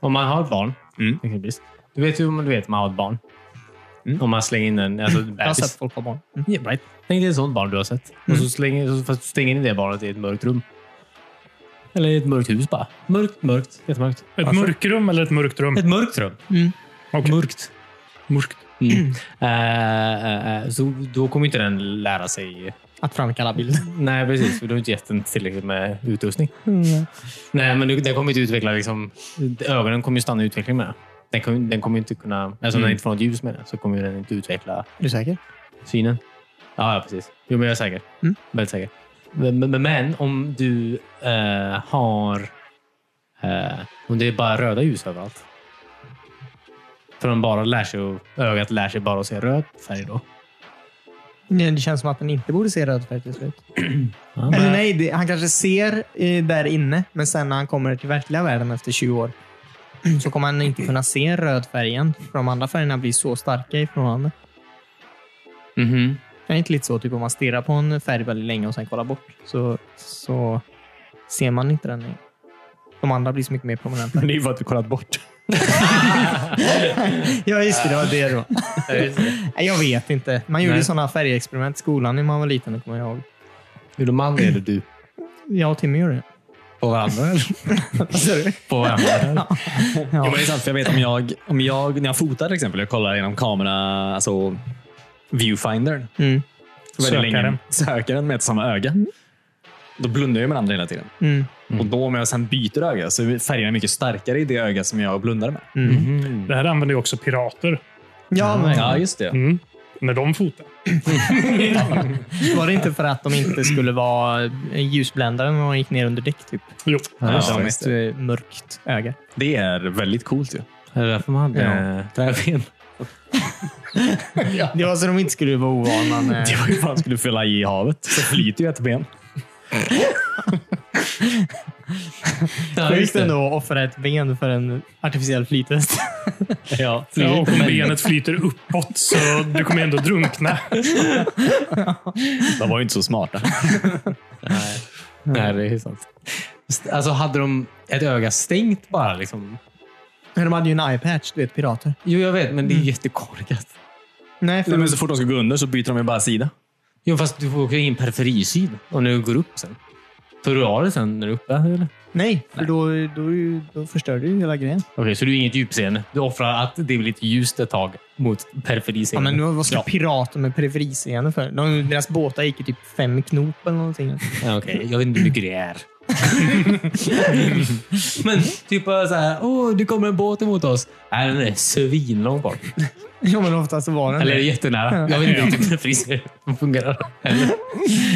Om man har ett barn, Mm. exempelvis. Du vet ju om du vet om man har ett barn. Mm. Om man slänger in en alltså, Jag har sett bebis. folk ha barn. Mm. Yeah, right. Tänk dig ett sånt barn du har sett. Och Mm. så slänger, så- fast du stänger in det barnet i ett mörkt rum. Eller i ett mörkt hus bara. Mörkt, mörkt, jättemörkt. Alltså. Ett mörkrum eller ett mörkt rum? Ett mörkt rum. Mm. Okej. Mörkt. Mm. Mörkt. Mm. Eh, eh, eh, så då kommer inte den lära sig. Att framkalla Mm. bild. Nej, precis. För du har inte gett den tillräckligt med utrustning. Mm, Nej, men du- den kommer inte utveckla... Liksom, ögonen kommer ju stanna i utvecklingen med det. Den kommer, den kommer inte kunna... Alltså Mm. om den inte får något ljus med den så kommer ju den inte utveckla Är du säker? synen. Ja, ja precis. Jo, men jag är säker. Mm. Väldigt säker. Men, men, men om du eh, har... Eh, om det är bara röda ljus överallt. För de bara lär sig att, ögat lär sig bara att se röd färg då. Nej, Det känns som att den inte borde se röd färg till slut. Ja, Eller men- nej, det, han kanske ser eh, där inne, men sen när han kommer till verkliga världen efter 20 år så kommer han inte kunna se röd färgen. För de andra färgerna blir så starka i förhållande. Mhm. Det är inte lite så typ om man stirrar på en färg väldigt länge och sen kollar bort så, så ser man inte den. längre. De andra blir så mycket mer prominenta. Men det är ju för att du kollat bort. ja, just det. Det var det då. Ja, just det. Nej, jag vet inte. Man gjorde Nej. ju sådana färgexperiment i skolan när man var liten, det kommer jag ihåg. Gjorde man det eller du? Jag och Timmy gjorde det. Alltså, På varandra eller? Vad sa du? På varandra? Ja. Ja. men det är sant, för jag vet om jag, om jag, när jag fotar till exempel, jag kollar genom kamera, alltså viewfindern. Mm, Så väldigt länge- Sökaren. sökaren Mm. med ett samma öga. Då blundar jag med andra hela tiden. mm, Och då om jag sen byter öga så är färgerna mycket starkare i det öga som jag blundar med. mm. Det här använder ju också pirater Ja, men Ja, just det. mm. när de fotar. Var det inte för att de inte skulle vara ljusbländare när de gick ner under däck? Typ. Jo. Ja, Just just ett eh, mörkt öga. Det är väldigt coolt ju. Det är därför man hade... Eh. Ja. Träben. Det var så de inte skulle vara ovana. Med. Det var ju fan skulle fylla i havet. Så flyter ju ett ben. Ja, just eh, Sjukt det. ändå att offra ett ben för en artificiell flytväst. Ja. Ja, och om benet flyter uppåt så du kommer ändå drunkna. De var ju inte så smarta. Nej. Nej, det är sant. Alltså hade de ett öga stängt bara? Liksom. Men de hade ju en eye-patch, du vet pirater. Jo, jag vet, men det är jättekorkat. Nej, för Nej, men så fort de ska gå under så byter de ju bara sida. Jo, fast du får åka in periferisyn om du går upp sen. Tar du av det sen när du är uppe? Eller? nej, för då, då, är ju- då förstör du ju hela grejen. Okej, så du är inget djupseende. Du offrar att det blir lite ljust ett tag mot Ja, periferiseende. men nu, vad ska pirater med periferiseende för? De, deras båtar gick ju typ fem knop eller någonting. Ja, Okej, jag vet inte hur mycket det är. men typ bara så här, åh, det kommer en båt emot oss. Nej, den är svinlångt bort. Ja, men oftast så var den Eller det. jättenära. Jag vet inte riktigt hur periferisering fungerar. Eller?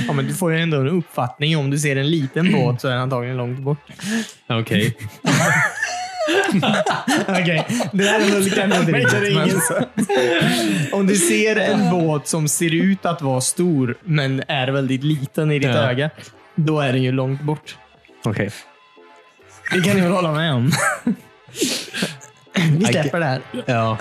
ja, men Du får ju ändå en uppfattning. Om du ser en liten båt så är den antagligen långt bort. Okej. Okej, det där är väl kanske inte riktigt. men- Om du ser en båt som ser ut att vara stor, men är väldigt liten i ditt Ja. öga, då är den ju långt bort. Okej. Det kan ni väl hålla med om? Vi släpper det här. Ja.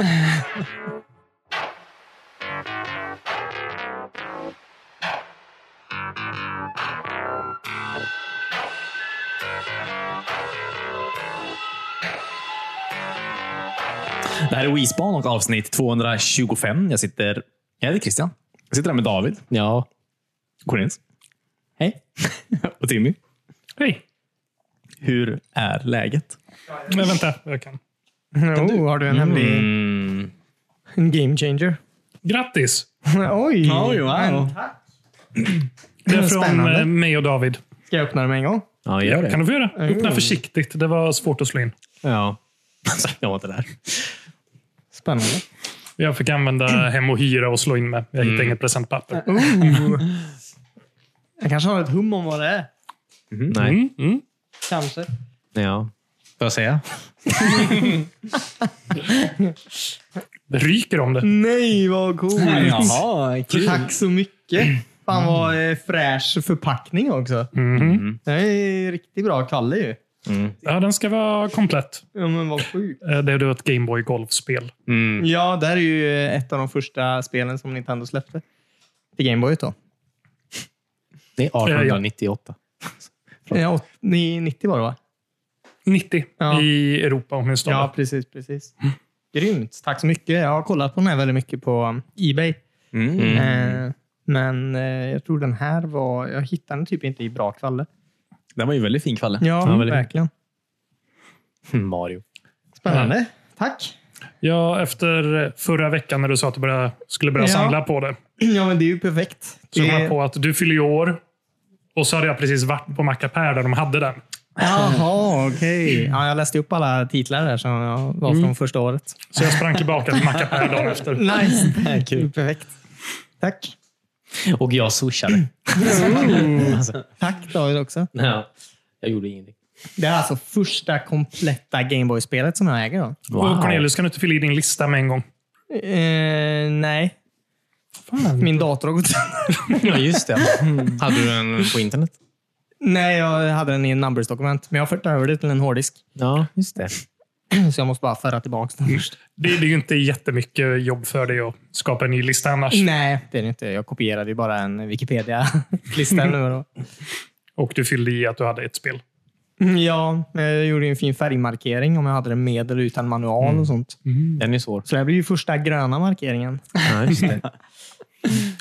Det här är WeSpan och avsnitt 225. Jag sitter... Jag heter Christian. Jag sitter här med David, Ja. Cornelius Hej. och Timmy. Hej! Hur är läget? Men vänta, jag kan. Oh, har du en hemlig Mm. en game changer? Grattis! Oj! wow. Det är från Spännande. eh, mig och David. Ska jag öppna dem en gång? Ja, gör Kan det. du få göra? Öppna försiktigt. Det var svårt att slå in. Ja. Jag var inte där. Spännande. Jag fick använda hem och hyra och slå in med. Jag Mm. hittade inget presentpapper. Oh. Jag kanske har ett hum om vad det är. Nej. Mm, mm. Kanske. Ja. Får jag säga? Det ryker om det. Nej, vad coolt! Jaha, kul. Tack så mycket! Fan vad eh, fräsch förpackning också. Mm. Mhm. Det är riktigt bra kalle ju. Ja, den ska vara komplett. Ja, men vad sjukt. Eh, Det är då ett Gameboy Golf-spel. Mm. Ja, det här är ju eh, ett av de första spelen som Nintendo släppte. Till Gameboy då. Det är 1898. Ja, åt- ni- 90 var det va? 90 Ja. i Europa åtminstone. Ja, Ja. precis. precis. Grymt. Tack så mycket. Jag har kollat på den här väldigt mycket på um, Ebay. Mm. Eh, men eh, jag tror den här var... Jag hittade den typ inte i bra kvalle. Den var ju väldigt fin kvalle. Ja, väldigt fin. verkligen. Mm, Mario. Spännande. Tack. efter förra veckan när du sa att du började, skulle börja Ja. samla på det. Ja, men det är ju perfekt. Så kom Det- jag på att du fyller ju år. Och så hade jag precis varit på Macapär där de hade den. Jaha, okej. Ja, jag läste upp alla titlar där som jag var från första året. Så jag sprang tillbaka till Macapär dagen efter. Nice. Kul. Perfekt. Tack. Och jag swishade. alltså, Tack David också. ja, jag gjorde ingenting. Det är alltså första kompletta Gameboy-spelet som jag äger. Då. Och Cornelius, kan du inte fylla i din lista med en gång? Eh, nej, min dator har gått sönder. Ja, just det. Hade du den på internet? Nej, jag hade den i en numbers-dokument, men jag har fört över det till en hårddisk. Ja, just det. Så jag måste bara föra tillbaka den först. Det det är ju inte jättemycket jobb för dig att skapa en ny lista annars. Nej, det är det inte. Jag kopierade ju bara en Wikipedia-lista nu. Då. Och du fyllde i att du hade ett spel. Mm, Ja, men jag gjorde ju en fin färgmarkering om jag hade den med eller utan manual och sånt. Den är svår. Så det här blir ju första gröna markeringen. Ja, just det.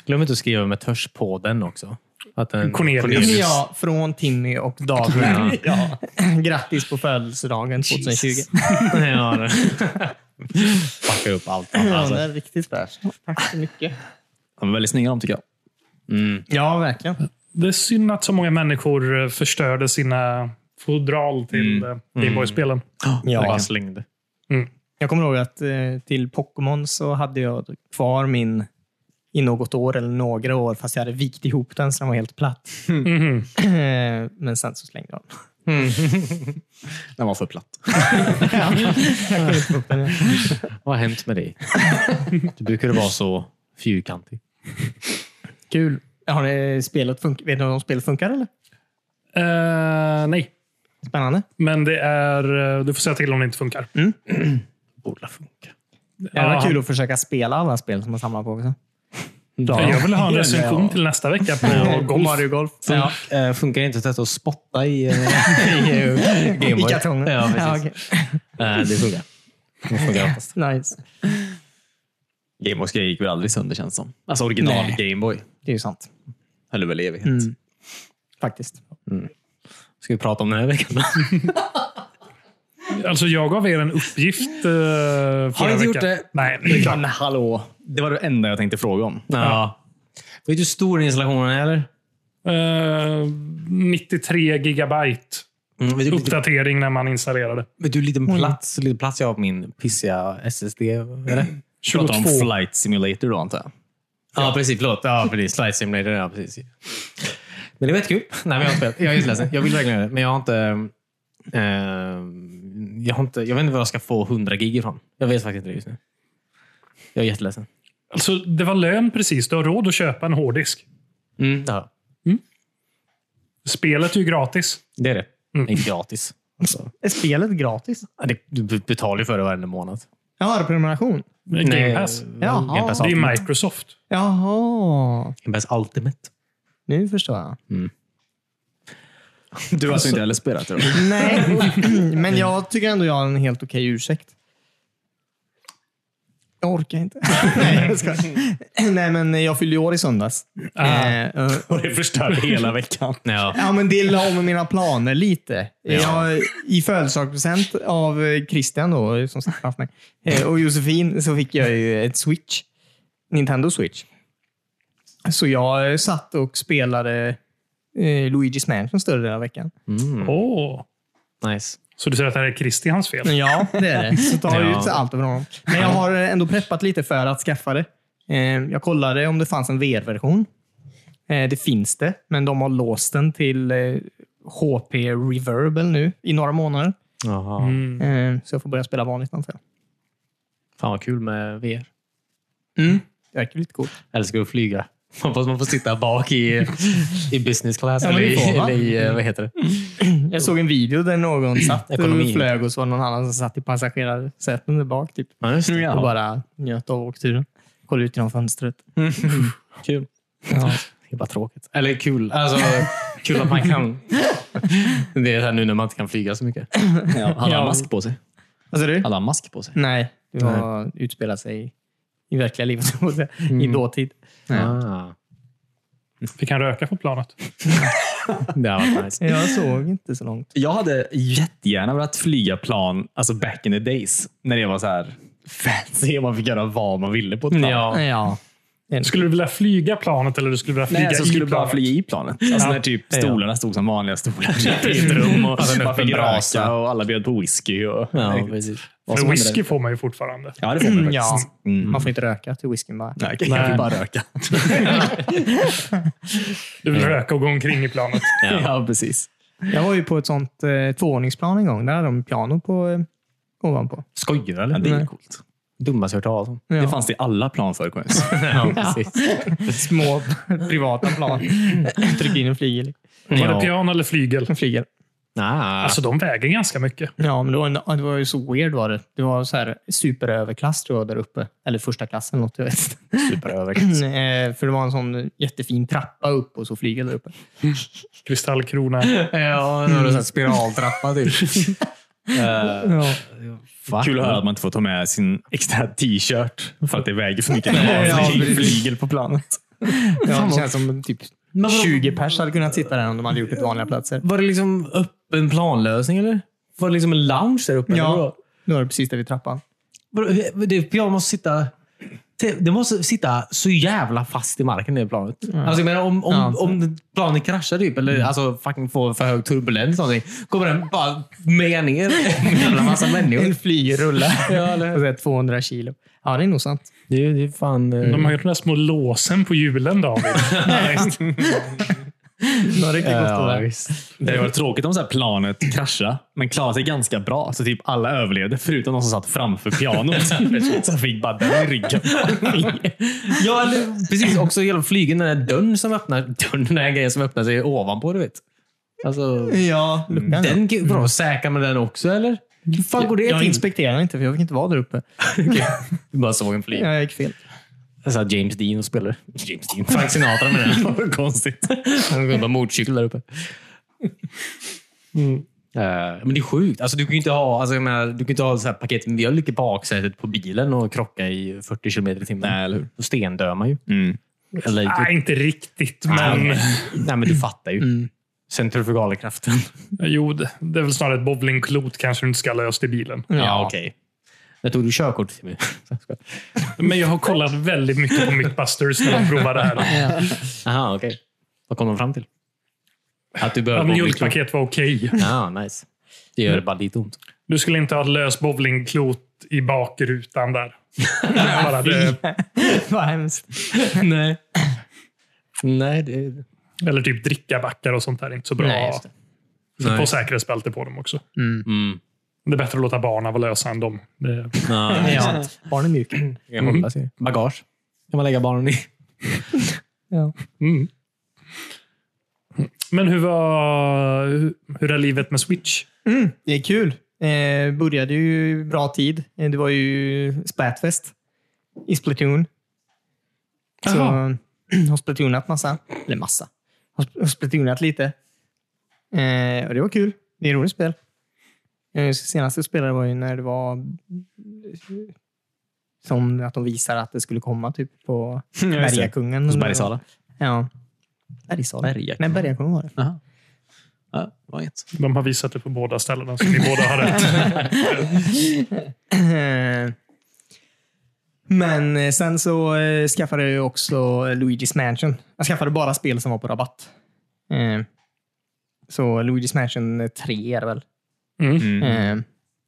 Glöm inte att skriva med törs på den också. Att den, Cornelius. Ja, från Timmy och David. ja. Grattis på födelsedagen 2020. ja, det- Fuckar upp allt. Ja, det Alltså. är riktigt fräscht. Tack så mycket. De är väldigt snygga de tycker jag. Mm. Ja, verkligen. Det är synd att så många människor eh, förstörde sina fodral till mm. Gameboy-spelen. Jag Ja. bara slängde. Mm. Jag kommer ihåg att eh, till Pokémon så hade jag kvar min i något år eller några år, fast jag hade vikt ihop den så den var helt platt. Mhm. Eh, Men sen så slängde jag den. Den var för platt. Jag kunde inte få upp den igen. Vad har hänt med dig? Du brukade vara så fyrkantig. Kul. Har ni spelet fun- Vet ni om spelet funkar eller? Eh, nej, Spännande. men det är... eh, Du får säga till om det inte funkar. Borde funka. Det var Ja. kul att försöka spela alla spel som man samlar på också. Mm. Jag vill ha en Ja. recension till nästa vecka på golf. Mario Golf. Fun- Ja. eh, funkar inte att sätta och spotta i, eh, i eh, Gameboy? I kartongen. Ja, precis. okej. Eh, det funkar. Det funkar oftast. Nice. Gameboys grejer gick väl aldrig sönder känns som. Alltså original Nej. Gameboy Det är ju sant. höll väl i evighet. Mm. Faktiskt. Ska vi prata om den här veckan? Alltså, jag gav er en uppgift eh, förra Har ni inte gjort veckan. det? Nej, det är klart. Men hallå. Det var det enda jag tänkte fråga om. ja. Vet du hur stor installationen är? Eller? Eh, 93 gigabyte Mm, vet, du, vet, uppdatering när man installerade. vet du hur liten plats, hur liten plats jag har på min pissiga SSD? Eller? Pratar 22. om Flight Simulator då antar jag. Ja, precis. Förlåt. Ja, precis. Slide Simulator. Ja, precis. Men det var jättekul. Nej, men jag har inte spelat. Jag är jätteledsen. Jag vill verkligen göra det, men jag har inte... Eh, jag, har inte jag vet inte var jag ska få 100 gig ifrån. Jag vet faktiskt inte det just nu. Jag är jätteledsen. Alltså, det var lön precis. Du har råd att köpa en hårddisk. Mm, det har jag. Spelet är ju gratis. Det är det. Det är gratis. Alltså. Är spelet gratis? Ja, det- Du b- betalar ju för det varje månad. Jag har prenumeration. Game Pass. Jaha. Jaha. Game Pass Det är ju Ultimate. Microsoft. Jaha. Game Pass Ultimate. Nu förstår jag. Du har alltså inte heller spelat det då? Nej, men jag tycker ändå jag har en helt okej ursäkt. Jag orkar inte. Nej, jag skojar. Nej, men jag fyllde ju år i söndags. Eh, och- Och det förstörde hela veckan. Ja. Ja, men det la om mina planer lite. Jag, I födelsedagspresent av eh, Christian då, som sitter framför mig, eh, och Josefin så fick jag ju ett Switch. Nintendo Switch. Så jag eh, satt och spelade eh, Luigi's Mansion större delen av veckan. Åh. Mm, Nice. Så du säger att det här är Christians fel? Men Ja, det är det. Så tar Ja. ju ut allt över honom. Men jag har ändå preppat lite för att skaffa det. Eh, Jag kollade om det fanns en VR-version. Eh, Det finns det, men de har låst den till eh, HP Reverbal nu i några månader. Jaha. Mm. Eh, Så jag får börja spela vanligt antar jag. Fan vad kul med VR. Det verkar lite coolt. Älskar att flyga. Man får, man får sitta bak i, i business class. Ja, men eller, det i, får man. eller i, eh, vad heter det? Mm. Jag såg en video där någon satt Ekonomi. och flög och så var det någon annan som satt i passagerarsäten där bak typ. Ja, just det. och Ja. bara njöt av åkturen. Kollade ut genom fönstret. Kul. Det är bara tråkigt. Eller kul. Alltså, kul att man kan Det är så här nu när man inte kan flyga så mycket. Ja, han har Ja. mask på sig. Vad sa du? Han har mask på sig. Nej, Mm. det var utspela sig i, i verkliga livet. så att säga. I dåtid. Ah, Vi kan röka på planet. det har varit nice. Jag såg inte så långt. Jag hade jättegärna velat flyga plan, alltså back in the days, när det var så här fancy och man fick göra vad man ville på ett plan. Ja. Ja. Skulle du vilja flyga planet eller du skulle vilja flyga Nej, så skulle i du bara planet? flyga i planet. Alltså när typ stolarna stod som vanliga stolar i ett rum och Alltså en man öppen fick brasa. röka och alla bjöd på whisky. Och, Ja, precis. vad som För hände whisky där. får man ju fortfarande. Ja, det får man faktiskt. ja. Mm. Man får inte röka till whiskyn bara. Nej, jag vill bara röka. Du Mm. vill röka och gå omkring i planet. Ja, precis. Jag var ju på ett sånt eh, tvåvåningsplan en gång. Där hade de piano på, eh, ovanpå. Skojar du Ja, eller? det är Nej. coolt. Dummaste jag hört talas om. Ja. Det fanns det i alla plan förr. kom jag ihåg. Ja, precis. Små privata plan. Trycker Mm. in en flygel. Var det Ja. piano eller flygel? En flygel. Ah. Alltså, de väger ganska mycket. Ja, men det var, en, det var ju så weird var det. Det var så här superöverklass tror jag där uppe. Eller första klassen något jag vet. superöverklass. Mm. Eh, För det var en sån jättefin trappa upp och så flygel där uppe. Kristallkrona. Ja, några mm. spiraltrappa typ. eh, Ja. Kul att höra att man inte får ta med sin extra t-shirt för att det väger för mycket. Ja, Det är precis. flygel på planet. Ja, det känns som typ Men vadå? 20 pers hade kunnat sitta där om de hade gjort det på vanliga platser. Var det liksom öppen planlösning eller? Var det liksom en lounge där uppe? eller vadå? Nu var det precis där vid trappan. Vadå, det- Det, jag måste sitta... te- Det måste sitta så jävla fast i marken det planet. Alltså, jag menar, om, om, Ja. om planet kraschar typ, eller alltså, fucking får för hög turbulens eller någonting, kommer den bara meja ner en jävla massa människor. En flygrulle. Ja, eller hur? Och så här 200 kilo. Ja, det är nog sant. Det är ju fan... eh, De har ju de där små låsen på hjulen, David. Det var riktigt gott att vara. Det hade varit tråkigt om så här planet kraschade, men klarade sig ganska bra. Så typ alla överlevde, förutom de som satt framför pianot. så han fick bara den i ryggen. Ja, eller, precis. Också genom flygen, den där dörren som öppnar. Dörren, den här grejen som öppnar sig ovanpå, du vet. Alltså, Ja, luckan. ja. den, bra, säkra med den också, eller? Hur fan går det Jag till? inspekterade inte, för jag fick inte vara där uppe. Du bara såg en flyg. Jag gick fel. Alltså James Dean och spelar. James Dean? Frank Sinatra med den. Vad konstigt. Han går på motorcykel där uppe. Eh, men det är sjukt. Alltså, du kan ju inte ha, alltså, jag menar, du kan ju inte ha så här paket med mjölk i baksätet på bilen och krocka i 40 kilometer i timmen. Nej, eller hur? Då stendör man ju. Mm. Eller, Nej, inte riktigt, men... Nej, nej, men du fattar ju. Centrifugalkraften. Jo, det det är väl snarare ett bowlingklot kanske du inte ska ha löst i bilen. Ja, okej. När tog du körkort, Timmy? Men jag har kollat väldigt mycket på Mythbusters när de provar det här. Jaha, okej. Vad kom de fram till? Att du Ja, behöver... mjölkpaket var okej. Ja, nice. Det gör bara lite ont. Du skulle inte ha ett löst bowlingklot i bakrutan där. Bara det, Vad hemskt. Nej. Nej, det... eller typ drickabackar och sånt där. är Inte så bra. Nej, just det. Sätt på Nej. säkerhetsbälte på dem också. Mm. Det är bättre att låta barnen vara lösa än dem. Det, Ja, Ja. Barn är mjuka. det kan hålla sig. Mhm. Bagage kan man lägga barnen i. Ja. mm. Men hur var hur, hur är livet med Switch? Mm, det är kul. Eh, började ju bra tid. Eh, Det var ju spätfest i Splatoon. Så Jaha. har splatoonat massa. Eller massa. Har sp- Har splatoonat lite. Eh, och det var kul. Det är ett roligt spel. Eh, senaste jag spelade var ju när det var eh, som att de visar att det skulle komma typ på Ja, just det. Bergakungen. Hos Bergsala. Ja. Bergsala? Bergakungen. Nej, Bergakungen var det. Jaha. Ja, vad inget. De har visat det på båda ställena, så ni båda har rätt. Eh, Men eh, sen så eh, skaffade jag ju också Luigi's Mansion. Jag skaffade bara spel som var på rabatt. Eh, Så Luigi's Mansion 3 är det väl. Mm. Eh,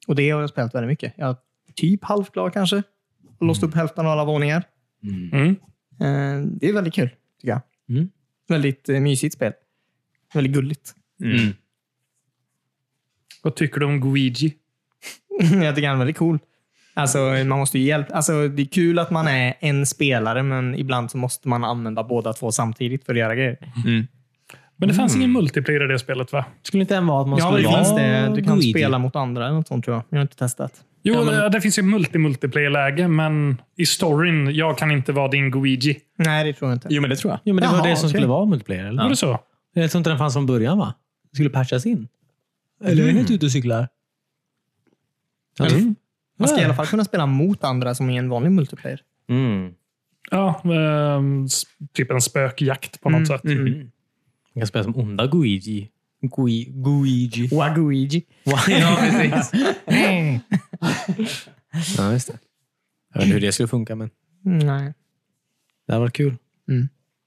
Och det har jag spelat väldigt mycket. Jag är typ halvklar kanske. Låst upp hälften av alla våningar. Mm. Eh, Det är väldigt kul, tycker jag. Mm. Väldigt eh, mysigt spel. Väldigt gulligt. Mm. Vad tycker du om Guigi? jag tycker han är väldigt cool. Alltså, man måste ju hjälp. Alltså, det är kul att man är en spelare, men ibland så måste man använda båda två samtidigt för att göra grejer. Mm. Men det fanns Mm. ingen multiplayer i det spelet, va? Skulle inte den vara att man Ja, skulle det finns vara det. Du kan Luigi? spela mot andra eller något sånt tror jag. Jag har inte testat. Jo, eh, Ja, men- det, det finns ju multi-multiplayer-läge, men i storyn, jag kan inte vara din Guigi. Nej, det tror jag inte. Jo, men det tror jag. Jo, men det var Jaha, det som okej. skulle vara multiplayer. Eller? Var det så? Jag tror inte den fanns från början, va? skulle patchas in. Eller jag är helt ute och cyklar. Mm. Man ska i Ja. alla fall kunna spela mot andra som i en vanlig multiplayer. Mm. Ja, ehm, s- typ en spökjakt Mm, på något sätt. Man kan spela som onda Guigi. Gui, Guigi. Waguigi. ja, precis. ja, just det. Jag vet inte hur det skulle funka, men Nej. Mm. det hade varit kul.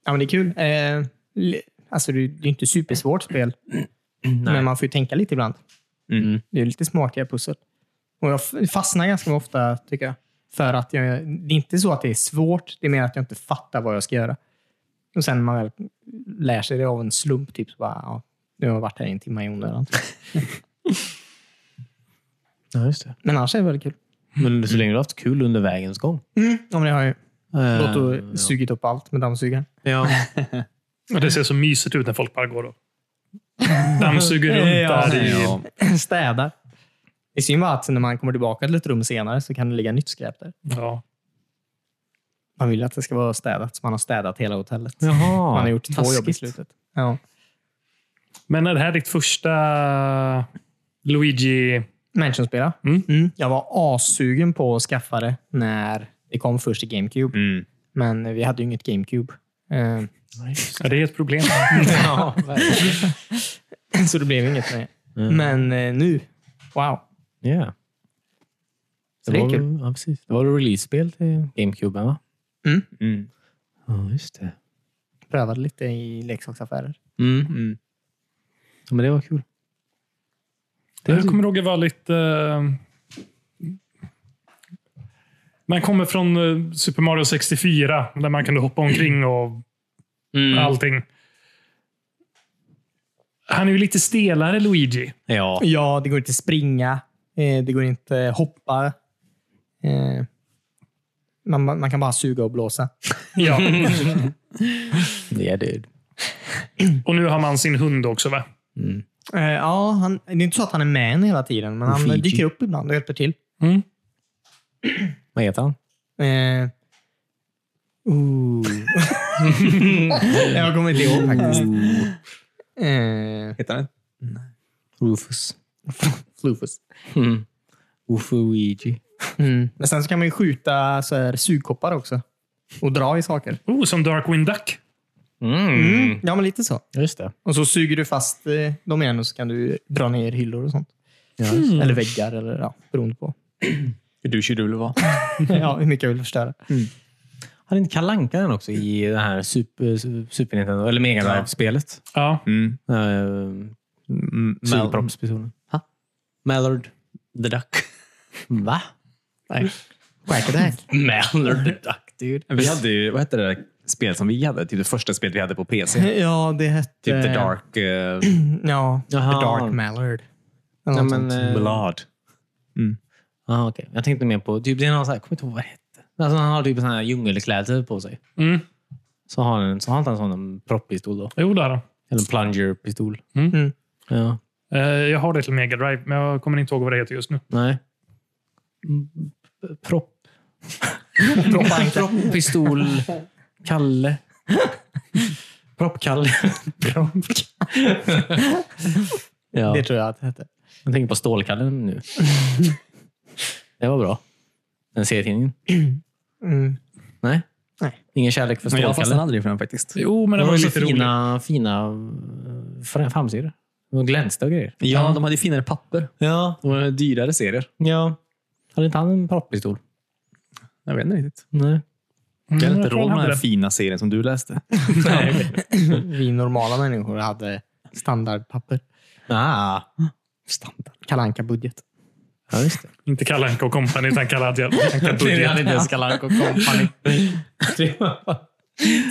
Ja, men det är kul. Eh, li- alltså, det är ju inte supersvårt spel, men man får ju tänka lite ibland. Mm. Det är lite smartiga pussel. Och jag f- fastnar ganska ofta, tycker jag. För att jag, det är inte så att det är svårt, det är mer att jag inte fattar vad jag ska göra. Och sen när man väl lär sig det av en slump, typ så bara, ja, nu har jag varit här i en timme i onödan. Ja, just det. Men annars är det väldigt kul. Men så länge du har haft kul under vägens gång. Mm. Ja, men det har jag ju. Gått och Eh, sugit upp allt med dammsugaren. ja. Och Det ser så mysigt ut när folk bara går och dammsuger runt Ja. där. I, Ja. Städar. Det är synd bara att när man kommer tillbaka till ett rum senare så kan det ligga nytt skräp där. ja. Man vill att det ska vara städat, så man har städat hela hotellet. Jaha. man har gjort två jobb i taskigt. slutet. Ja. Men är det här ditt första Luigi... Mansion-spela. Mm. Jag var assugen på att skaffa det när det kom först i GameCube. Mm. Men vi hade ju inget GameCube. Eh, Ja, det är ett problem. Ja, verkligen. Så det blev inget med det. Mm. Men eh, nu, wow. Ja. Så det är var- kul. Ja, precis. Det var ett release-spel till GameCube, va? Mm. Mm. Ja, just det. Prövade lite i leksaksaffärer. Mm. Ja, men det var kul. Det Jag var kommer ihåg att det var lite... eh, Man kommer från eh, Super Mario 64, där man kunde hoppa omkring och Mm. Mm. allting. Han är ju lite stelare, Luigi. Ja. Ja, det går inte springa. Eh, Det går inte hoppa. Eh, Man, man man kan bara suga och blåsa. Ja. Det är det. Och nu har man sin hund också, va? Mm. Eh, Ja, han, det är inte så att han är med en hela tiden, men han Fiji. dyker upp ibland och hjälper till. Mm. Vad heter han? Eh, ooh. jag kommer inte ihåg faktiskt. Eh, Heter den? Rufus. Flufus. Mm. Ufuigi. Mm. Men sen så kan man ju skjuta så här sugkoppar också. Och dra i saker. Oh, som Darkwing Duck. Mm. Ja, men lite så. Just det. Och så suger du fast eh, dem igen och så kan du dra ner hyllor och sånt. Ja, Eller väggar, eller ja, beroende på Hur douchig du vill vara. ja, hur mycket jag vill förstöra. Hade inte Kalle Anka den också i det här Super, Super Nintendo, eller Mega Drive-spelet? Ja. Mm. Uh, Mm. Sugproppspistolen. Mallard the Duck. Va? Nej. Quackattack. Mallard the Duck, dude. Vi hade ju, vad hette det där spelet som vi hade? Typ det första spelet vi hade på PC. Typ Ja, det hette... The Dark eh, Ja, Jaha. The Dark Mallard. Eller Ja, något men, sånt. eh, Blood. aha, okej. Jag tänkte mer på, typ, det är någon så här, jag kommer inte ihåg vad det hette. Alltså, han har typ en sån här djungelkläder på sig. Mm. Så har han, så har inte han sån en proppistol då? Jo, det har han. Eller en plungerpistol. Mm. Mm. Ja, Eh, Jag har det till Mega Drive, men jag kommer inte ihåg vad det heter just nu. nej. Mm, Propp. Proppanka. Proppistol. Kalle. Proppkalle. ja. Det tror jag att det hette. Jag tänker på Stålkallen nu. det var bra. Den serietidningen. Mm. Nej? Nej. Ingen kärlek för Men jag fastnade Stålkallen? aldrig för den faktiskt. Jo, men Men det det var var ju så lite roligt. fina, fina eh, fra- framsidor. De glänste och grejer. Ja, de hade ju finare papper. Ja. De hade dyrare serier. ja. Hade inte han en proppistol? Jag vet inte riktigt. Nej. Jag Mm, har inte råd jag tror med han den hade här det. fina serien som du läste. Mm. Vi normala människor hade standardpapper. Ah. Standard. Kalanka budget Ja, just det. Inte Kalle Anka och Company, utan Kalle Anka Anka Vi Budget. hade inte ens Kalle Anka och Company.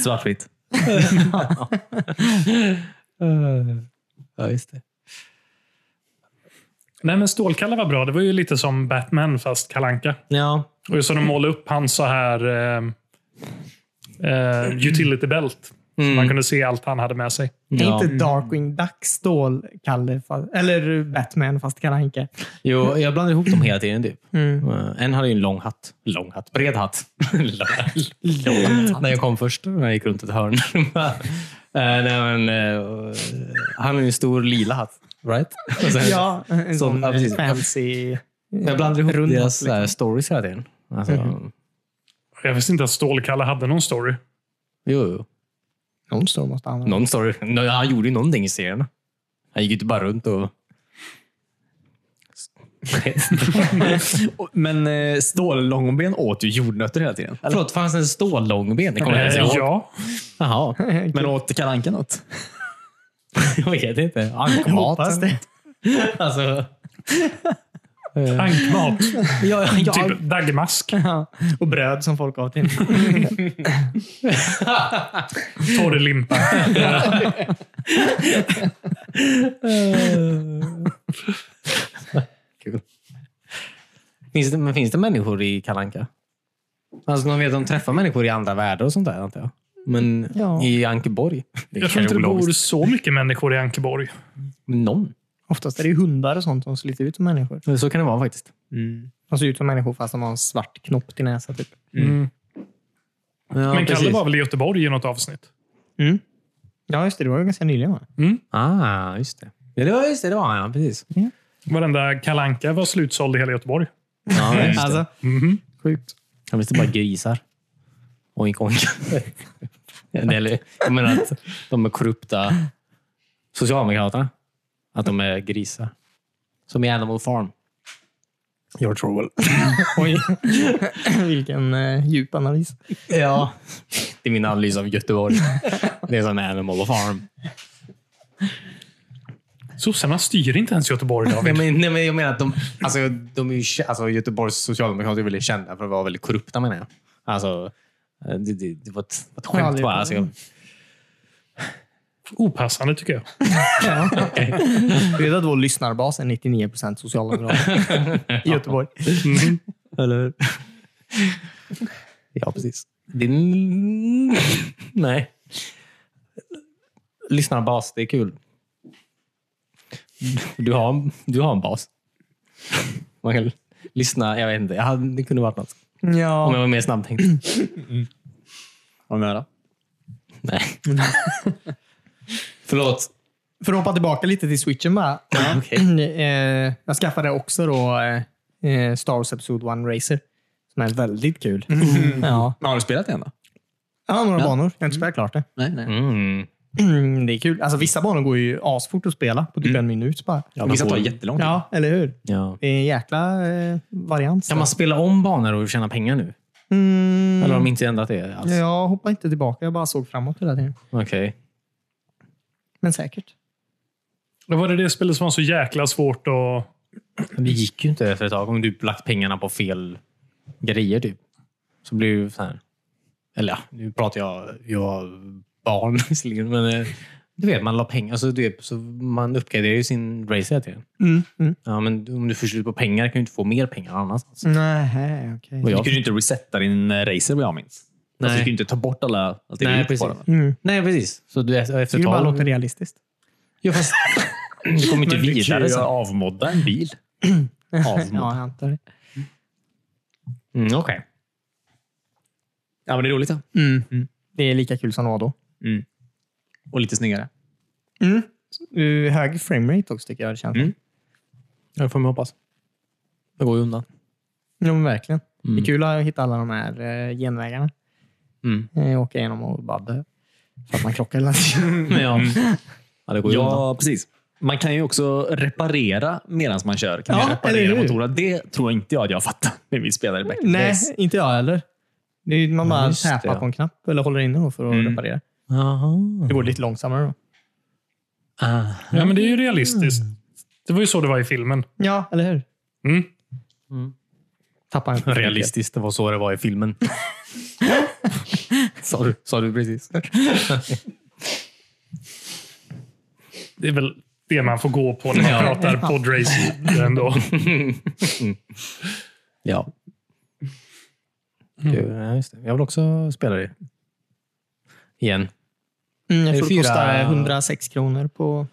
Svartvitt. ja, just det. Nej, men Stålkalle var bra. Det var ju lite som Batman, fast Kalle Anka. Ja. Och just att Mm. de målade upp han så här... Eh, eh, utility belt. Mm. Så man kunde se allt han hade med sig. Det är ja. inte Darkwing Duck, Stål, Kalle, fa- eller Batman, fast Kalle Anka. Jo, jag blandar ihop dem hela tiden. Typ. Mm. Eh, En hade ju en lång hatt. Lång hatt. Bred hatt. lång hatt. När jag kom först, när jag gick runt ett hörn. nej, men, eh, han har ju en stor lila hatt. Right? Och sen- Ja, en Så, sån ja, precis. fancy... Jag blandar ihop Rund deras hatt, liksom. eh, stories hela tiden. Alltså, Jag visste inte att Stålkalle hade någon story. Jo, jo. Någon storm måste han ha. Någon story. Nå- Han gjorde ju någonting i serierna. Han gick ju inte bara runt och... Och- Men eh, stållångben åt ju jordnötter hela tiden. Förlåt, fanns det en stållångben? Det kommer jag Eh, inte ens ihåg. ja. Jaha, Men åt Kalle Anka något? jag vet inte. Jag hoppas Ankmat? det. Alltså, ja, Ankmat. ja, ja, Eh. Typ daggmask. Ja, och bröd som folk har till. Torrlimpa. Kul. Finns det, men finns det människor i Kalanka? Alltså, de vet att de träffar människor i andra världar och sånt där, antar jag. Men Ja. i Ankeborg? Det Jag tror inte det ologiskt. bor så mycket människor i Ankeborg. Någon. Oftast är det ju hundar och sånt som sliter ut som människor. Så kan det vara faktiskt. Mm. De ser ut som människor fast de har en svart knopp till näsa. Typ. Ja, Mm. Men Kalle precis. var väl i Göteborg i något avsnitt? Mm. Ja, just det. Det var ju ganska nyligen. Va? Ah, just det. Ja, det var just det. Det var han, ja. Precis. Varenda kalanka var slutsåld i hela Göteborg. Ja, just det. Alltså, Mhm. sjukt. Han visste bara grisar. Oink, oink. Eller, jag menar att de är korrupta Socialdemokraterna. Att de är grisar. Som i Animal Farm. George Orwell. Oj. Vilken eh, djup analys. Ja. Det är min analys av Göteborg. Det är som Animal Farm. Sossarna styr inte ens Göteborg, Nej, David. men, nej, men jag menar att de, alltså, de är ju, kä- alltså, Göteborgs socialdemokrater är väldigt kända för att vara väldigt korrupta menar jag. Alltså, eh, det, det, det var ett, ett Jag har skämt aldrig- bara. Alltså, jag, Opassande, tycker jag. Du vet att vår lyssnarbas är 99 socialdemokrater i Göteborg. Eller Ja, precis. Din... Nej. Lyssna bas, det är kul. Du har, du har en bas. Man kan lyssna, jag vet inte. Jag hade, det kunde varit något. Om jag Ja. var mer snabbtänkt. Mm. Var du nära? Nej. Förlåt. För att hoppa tillbaka lite till switchen bara. Eh, jag skaffade också då eh, eh, Star Wars Episode 1 Racer. Som är väldigt kul. Mm. Ja. Men har du spelat den då? ja, några banor. Jag har inte spelat klart det. Nej, nej. Mm. Mm, det är kul. Alltså, vissa banor går ju asfort att spela på typ en minut bara. Ja, Vissa får- tar jättelång tid. Ja, eller hur? Ja. Det är en jäkla eh, varians. Kan man spela om banor och tjäna pengar nu? Mm, Eller har de inte ändrat det alls? ja, jag hoppar inte tillbaka. Jag bara såg framåt hela tiden. Okej. Men säkert. Det var det det spelet som var så jäkla svårt att... Men Det gick ju inte efter ett tag. Om du lagt pengarna på fel grejer typ. Så blir det ju så här. Eller ja, nu pratar jag, jag barn visserligen. Men eh, du vet, man la pengar. Alltså, du vet, så man uppgraderar ju sin race hela tiden. Mm. Ja, men om du får slut på pengar kan du inte få mer pengar annanstans. Nej, okej. Och Du jag- kunde ju inte resetta din eh, racer vad jag minns. Alltså, Nej. du kunde inte ta bort alla... Allt det Nej, du gjort på precis. den. Mm. Nej, precis. Så du, efter ett Det bara tag... låter realistiskt. Ja, fast, du kommer inte Men du kan vidare. ju sen. avmodda en bil. ja, Avmod. jag antar det. Mm, Okej. Ja, men det är roligt. Ja. Mm. Det är lika kul som det var då. Och lite snyggare. Uh, hög framerate också tycker jag det känns. Mm. Det får man hoppas. Det går ju undan. Ja, men verkligen. Det är kul att hitta alla de här eh, genvägarna. Mm. Eh, åka igenom och bara dö. För att man krockar hela tiden. Men ja. ja, det går ju undan. Ja, precis. Man kan ju också reparera medan man kör. Kan Ja, man eller reparera hur? motorerna? Det tror inte jag att jag fattar när vi spelar i back in the Nej, days. inte jag heller. Det är, ju- man bara just täpar det. på en knapp eller håller inne då för att Mm. reparera. Jaha. Det går lite långsammare då. Ah. Ja, men det är ju realistiskt. Det var ju så det var i filmen. Ja, eller hur? Mm. Tappar en Realistiskt, det var så det var i filmen. sa, du, sa du precis. Det är väl det man får gå på när man pratar podracing ändå. Ja. Kul, ja, just det. Jag vill också spela det. Igen. Mm, jag Det är tror det fyra- kostar 106 kronor på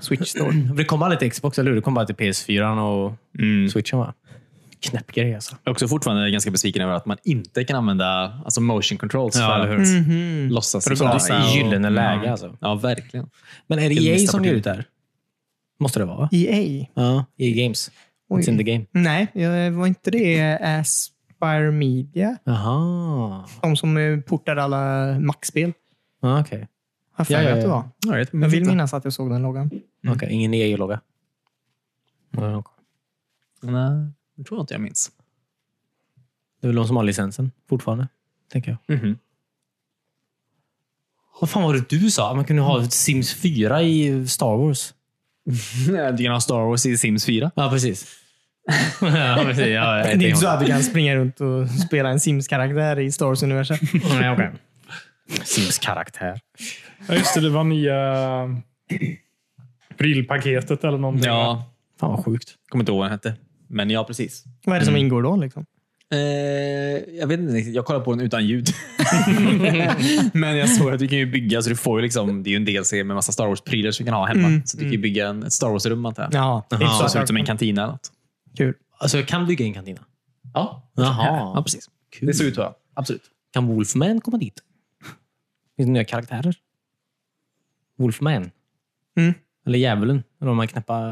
Switch Store. Det kom aldrig till Xbox, eller hur? Det kom bara till PS4 och Mm. Switchen, va? Knäpp grej alltså. Jag är också fortfarande ganska besviken över att man inte kan använda alltså motion controls Ja, för eller att hur? Mm. Mhm. låtsas För att komma gissa och- till gyllene läge Ja. alltså. Ja, verkligen. Men är det Vilken EA lista som på ger det? ut det här? Måste det vara? va? EA? Ja, EA Games. E Oj. It's in the game. Nej, jag- var inte det Aspire Media? Jaha. De som eh, portar alla Mac-spel. Ja, Ah, Okej, Har för Ja, mig ja, att det ja. var. Jag, vet, Jag vill minnas att jag såg den loggan. Okej, ingen EA-logga. Ja, okej. Nej, eh, det tror jag inte jag minns. Det är väl de som har licensen fortfarande, tänker jag. Vad fan var det du sa? Man kunde ha ett Sims 4 i Star Wars. Du kan ha Star Wars i Sims 4. Ja, precis. ja, precis. Ja, jag Det tänkte är inte så på att du kan springa runt och spela en Sims-karaktär i Star Wars-universum. Nej, okej. Sims-karaktär. Ja, just det, det var nya prylpaketet eller någonting. Ja, Fan vad sjukt. kommer inte ihåg vad den hette. Men ja, precis. Vad är det som ingår då? Liksom? Eh, jag vet inte riktigt. Jag kollar på den utan ljud. Men jag såg att du kan ju bygga, så du får ju liksom, det är ju en DLC med massa Star Wars-prylar som du kan ha hemma. Så du kan ju bygga en, ett Star Wars-rum antar jag. Ja, det är inte Så så det att ser ut jag, som en kantina eller något. kul. Alltså, jag kan bygga en kantina. Ja, Jaha. ja precis. Kul. Det ser ut så. Absolut. Kan Wolfman komma dit? Finns det nya karaktärer? Wolfman? Mm. Eller Djävulen? Eller om man knappar...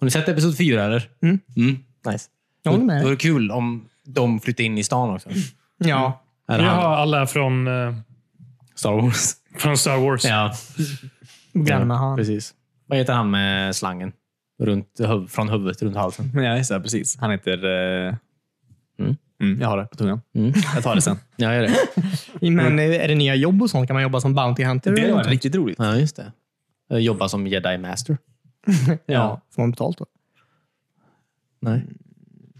Har ni sett Episod 4 eller? Mm. Nice. Jag håller med Då är dig. det kul om de flyttar in i stan också. Ja. Eller Jag han. har alla från, eh, Star Wars. från Star Wars. Ja, Granne med han. precis. Vad heter han med slangen? Runt, huv- från huvudet runt halsen. Ja, just det. Precis. Han heter... eh, Mm. Mm, jag har det på tungan. Mm. Jag tar det sen. Ja, gör det. Men eh, är det nya jobb och sånt? Kan man jobba som Bounty Hunter? eller någonting? riktigt roligt. ja, just det. Jag Jobbar som jedi master. Ja. Får man betalt då? Nej. Mm.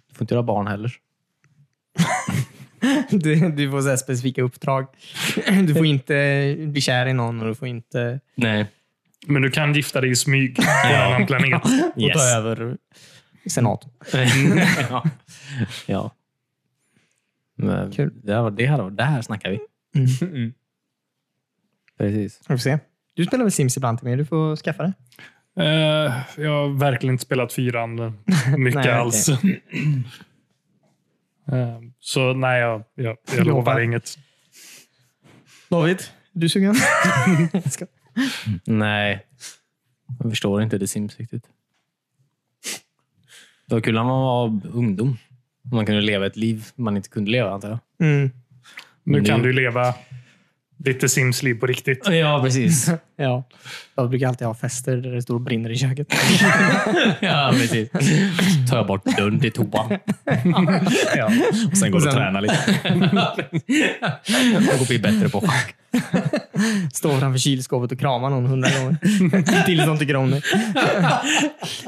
Du får inte göra barn heller. Du, du får så här specifika uppdrag. Du får inte bli kär i någon och du får inte Nej. Men du kan gifta dig i smyg på en annan planet. och ta över senaten. ja. ja. Men Kul. Det, här, var- det, här, var- det här snackar vi. Mm. Precis. Vi får se. Du spelar väl Sims ibland till mig? Du får skaffa det. Eh, jag har verkligen inte spelat fyran mycket Nej, alls. Eh, så nej, jag, jag, jag lovar Lovar. inget. David, du sugen? Nej. Jag förstår inte The Sims riktigt. Det var kul när man var ungdom. Man kunde leva ett liv man inte kunde leva, antar jag. Mm. Nu Nu- kan du leva ditt Sims-liv på riktigt. Ja, precis. Ja. Jag brukar alltid ha fester där det står och brinner i köket. ja, precis. Tar jag bort dörren till toan. Ja. Och sen går du och tränar lite. Jag går bli bättre på schack. Står framför kylskåpet och kramar någon hundra gånger. Tills de tycker om det.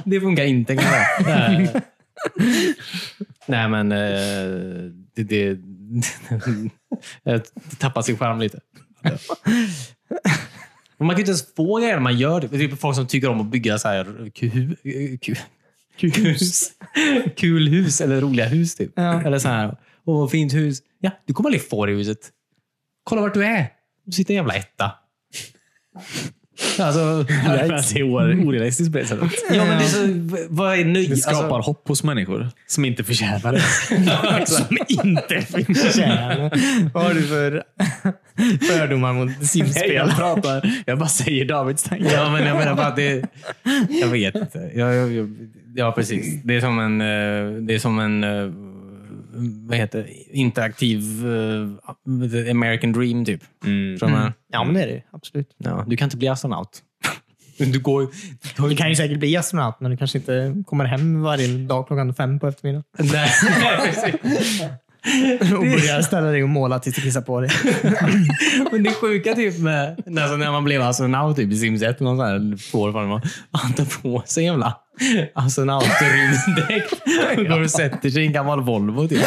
Det funkar inte. kan jag säga. Eh, Nej, men eh, det, det, jag tappar sin charm lite. Men man kan ju inte ens få grejer när man gör det. Det är folk som tycker om att bygga så här ku, ku, kulhus. Kul hus eller roliga hus. Typ. Ja. Eller så här, åh, fint hus. Ja, du kommer aldrig få det huset. Kolla vart du är. Du sitter i en jävla etta. Alltså, Det är o- orealistiskt på det sättet. ja, men det är så, v- vad är alltså- nöje? Det skapar hopp hos människor som inte förtjänar det. som inte finns. Tjena. Vad har du för fördomar mot Sims-spel? pratar, jag bara säger Davids tankar. Ja, men jag menar bara att det... Jag vet inte. Ja, jag, jag, ja precis. Det är som en... eh, Det är som en eh, vad heter det? Interaktiv eh, the American dream, typ. Mm. Som är, Ja, men det är det ju. Absolut. ja, du kan inte bli astronaut. Du går ju- du har Du ju... kan ju säkert bli astronaut, men du kanske inte kommer hem varje dag klockan fem på eftermiddagen. Nej, precis. Och börjar ställa dig och måla tills du kissar på dig. Men det sjuka typ med alltså när man blev astronaut typ, i Sims 1, någon sån här får vad det var. han tar på sig en jävla astronautrymddräkt och går och sätter sig i en gammal Volvo typ.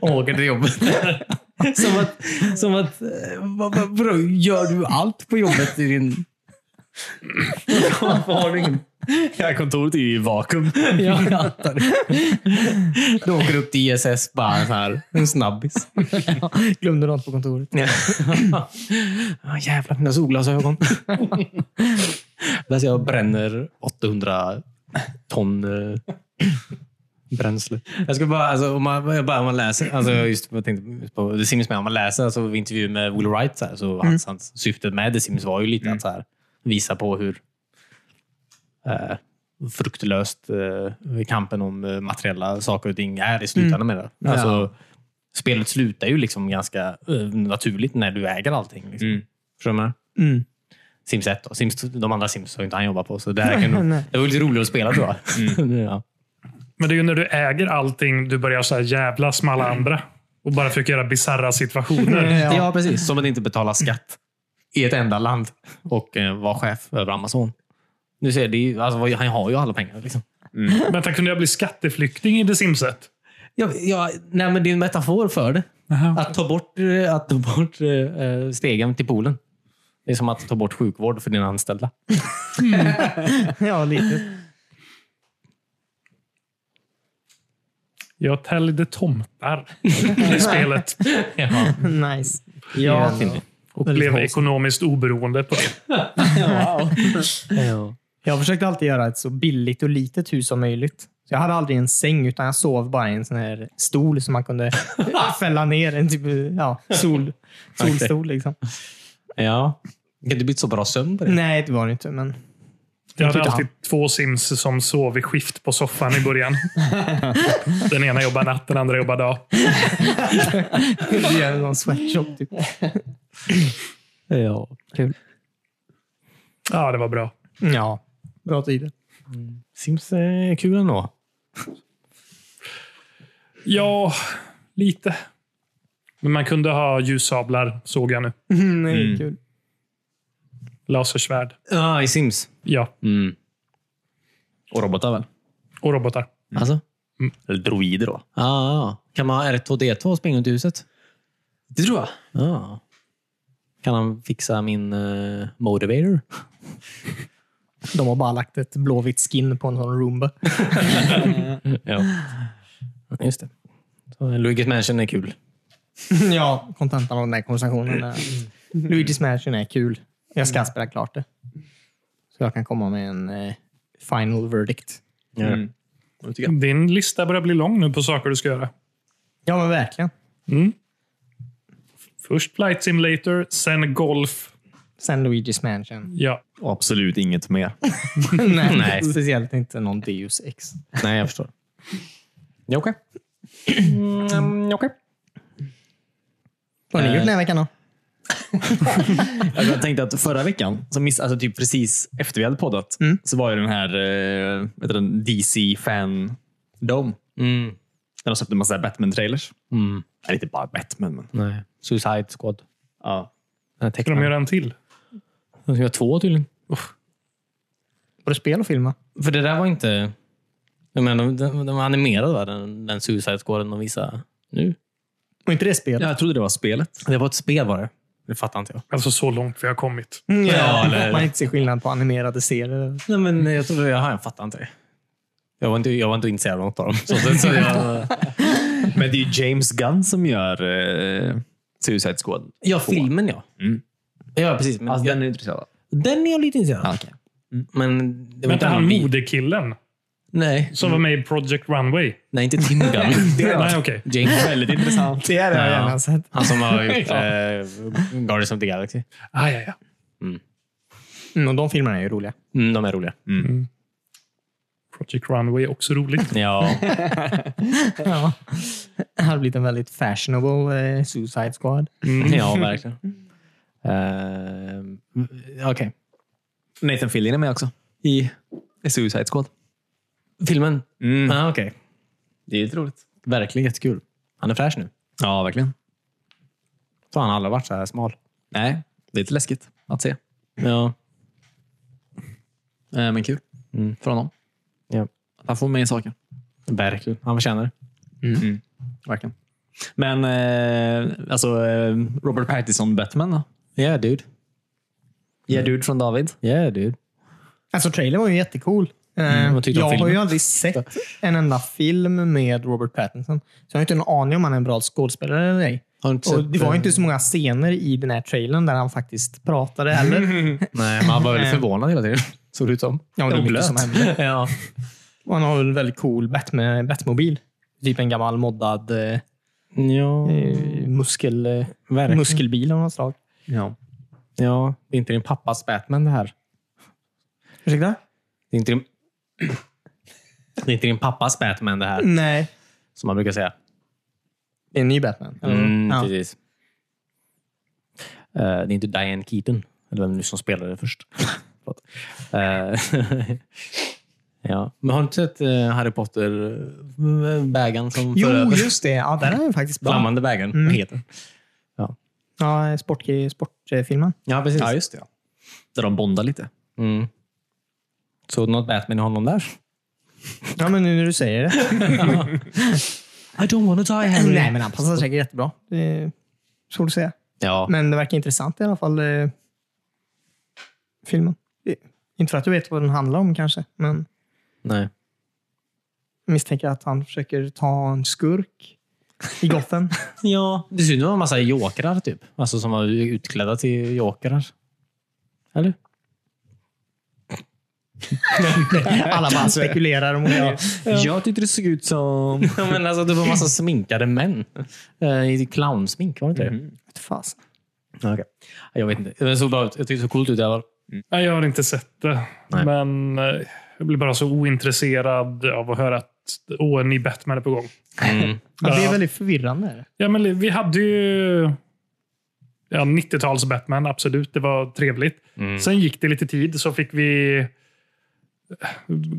och åker till jobbet. som att, som att eh, vad, vad, vadå, gör du allt på jobbet i din... Varför har du ingen... Ja, kontoret är ju i vakuum. Ja, jag antar det. Du åker upp till ISS bara så här, en snabbis. Glömde något på kontoret. ah, jävlar, mina solglasögon. Där ser jag och bränner 800 ton eh, Bränsle. Jag ska bara, alltså, om, man, jag bara, om man läser, alltså, just, vad jag tänkte på The Sims med, om man läser alltså, intervju med Will Wright, så, här, så hans, hans syftet med The Sims var ju lite att så här, visa på hur eh, fruktlöst eh, kampen om eh, materiella saker och ting är i slutändan. Med det. Alltså, Spelet slutar ju liksom ganska eh, naturligt när du äger allting. Liksom. Mm. Förstår du vad jag menar? Mm. Sims 1 då. Sims, de andra Sims har inte han jobbat på, så det, här Nej, kan nog, nej. det var lite roligare att spela tror jag. ja. Men det är ju när du äger allting du börjar så här jävlas med alla andra. Och bara försöker göra bisarra situationer. Ja. precis. Som att inte betala skatt i ett enda land och eh, vara chef över Amazon. Nu ser jag, det är ju, alltså, vad- han har ju alla pengar. Liksom. Vänta, kunde jag bli skatteflykting i The Simset? Ja, ja, nej, men det är en metafor för det. Att ta bort, eh, att ta bort eh, eh, stegen till poolen. Det är som att ta bort sjukvård för dina anställda. Ja, lite. Jag täljde tomtar i spelet. Ja, Nice. ja Och blev ekonomiskt oberoende på det. ja. Jag försökte alltid göra ett så billigt och litet hus som möjligt. Så jag hade aldrig en säng, utan jag sov bara i en sån här stol som man kunde fälla ner. En typ ja, sol, solstol. Liksom. ja. Kan du bli så bra sömn på det? Nej, det var det inte. Men Jag hade tyckte alltid två Sims som sov i skift på soffan i början. Den ena jobbar natt, den andra jobbar dag. det är en sån sweatshop. Typ. Ja, kul. Ja, det var bra. Ja, bra tider. Sims är kul ändå. Ja, lite. Men man kunde ha ljussablar, såg jag nu. Nej, kul. Lasersvärd. Ja, i Sims. Ja, Mm. Och robotar väl? och robotar. Alltså? Eller droider då? Ja, ja. Kan man ha R2D2 och springa runt i huset? Det tror jag. Ja. Kan han fixa min eh, motivator? De har bara lagt ett blåvitt skin på en sån Roomba. Ja. Just det. Så, eh, Luigi's Mansion är kul. ja, Mm. kontentan av den här konversationen. är att Luigi's Mansion är kul. Jag ska spela klart det. Så jag kan komma med en eh, final verdict. Ja. Mm. Det tycker jag. Din lista börjar bli lång nu på saker du ska göra. Ja, men verkligen. Mm. Först Flight Simulator, sen golf. Sen Luigi's Mansion. Ja. Och Mm. Absolut inget mer. Nej, Nej. speciellt inte någon Deus Ex. Nej, jag förstår. Ja, okej. Mm, okej. Vad har ni gjort den här veckan då? Alltså, jag tänkte att förra veckan, så miss, alltså typ precis efter vi hade poddat, så var ju den här eh, vad heter den, DC Fan Dome. Mm. Där de släppte en massa Batman-trailers. Mm. Nej, inte bara Batman, men... Nej. Suicide Squad. Ja. Den Ska de göra en till? De ska göra två tydligen. Både spel och filma? För det där var inte... Jag menar, de, de, de var animerade, va? Den, den Suicide Squaden de visar nu. Och inte det spel? Jag trodde det var spelet. Det var ett spel var det. Det fattar inte jag. Alltså så långt vi har kommit. Mm, Ja, eller- eller... Man inte ser skillnad på animerade serier. Nej, men jag trodde... Jaha, jag fattar inte det. Jag var inte, jag var inte intresserad av något av dem. Så, så, så jag, Men det är ju James Gunn som gör eh, Suicide Squad. Ja, filmen ja. Mm. Ja, precis. Men Alltså, jag, den är intresserad av. den är jag lite intresserad av. Mm. Ja, okej. Men det var Vänta, inte han han vi- modekillen Nej, som var med i Project Runway? nej, inte Tim Gunn. Nej, okej. James, Väldigt intressant. Det är det jag Ja. gärna sett. han som har gjort eh, Guardians of the Galaxy. Ah, ja, ja. Mm, och de filmerna är ju roliga. Mm, de är roliga. Project Runway är också Mm. roligt. Ja, Ja. Det hade blivit en väldigt fashionable eh, Suicide Squad. ja verkligen. Uh, Okej. Nathan Fillion är med också. I I Suicide Squad. filmen? Mm. Ah, Okej. Det är lite roligt. Verkligen jättekul. Han är fräsch nu. Ja, verkligen. Fan, han har aldrig varit så här smal. Nej, det är lite läskigt att se. Eh, Ja. men kul Mm. för honom. ja. Att Han får med i saker. Mm. Verkligen. Han förtjänar det. Mm. Verkligen. Men eh, alltså eh, Robert Pattinson Batman Mm. då? Yeah, dude. Ja, dude från David. Yeah, dude. Alltså trailern var ju jättecool. Eh, Mm, vad tyckte du om jag har ju filmen? aldrig sett en enda film med Robert Pattinson. Så jag har inte en aning om han är en bra skådespelare eller ej. Har du inte Och sett, det var ju eh, inte så många scener i den här trailern där han faktiskt pratade heller. Nej, man var väldigt förvånad hela tiden. Såg det ut som. Ja, men det var mycket som hände. ja. Och han har en väldigt cool Batman, Batmobil. Typ en gammal moddad eh, Ja, eh, muskel, eh, verkligen. muskelbil av något slag. Ja. Ja, det är inte din pappas Batman det här. Ursäkta? Det är inte din, Mm. det är inte din pappas Batman det här, Nej. som man brukar säga. Det är en ny Batman. eller? Mm, ja. precis. Eh, det är inte Diane Keaton, eller vem nu som spelade först. Förlåt. Eh, ja. Men har du inte sett eh, Harry Potter, eh, bägaren som Jo, föröver- just det. Ja, den är faktiskt bra. Flammande bägaren Mm. heter. Ja, sport, sportfilmen. Ja, precis. ja, just det. ja. Där de bondar lite. Mm. Såg du något Batman i honom där? Ja, men nu när du säger det. I don't wanna die, Harry. Nej, men han passar säkert jättebra. Det är svårt att säga. Ja. Men det verkar intressant i alla fall. Eh, filmen. Det- Inte för att du vet vad den handlar om kanske, men Nej. jag misstänker att han försöker ta en skurk i Gotham. Ja, det ser ut som en massa jokrar typ. Alltså som var utklädda till jokrar. Eller? Alla bara spekulerar om det. Jag tyckte det såg ut som... Ja, men alltså, det var en massa sminkade män. Eh, I clownsmink, var det inte det? Fasen. Mhm. Ja, okej. Jag vet inte. Det såg bra ut. Jag tyckte det såg coolt ut i alla fall. Nej, jag har inte sett det. Nej. Men eh, jag blir bara så ointresserad av att höra att åh, en ny Batman är på gång. Mm, Ja, det är Ja. väldigt förvirrande. är det? Ja, men vi hade ju ja, 90-tals Batman, absolut. Det var trevligt. Sen gick det lite tid, så fick vi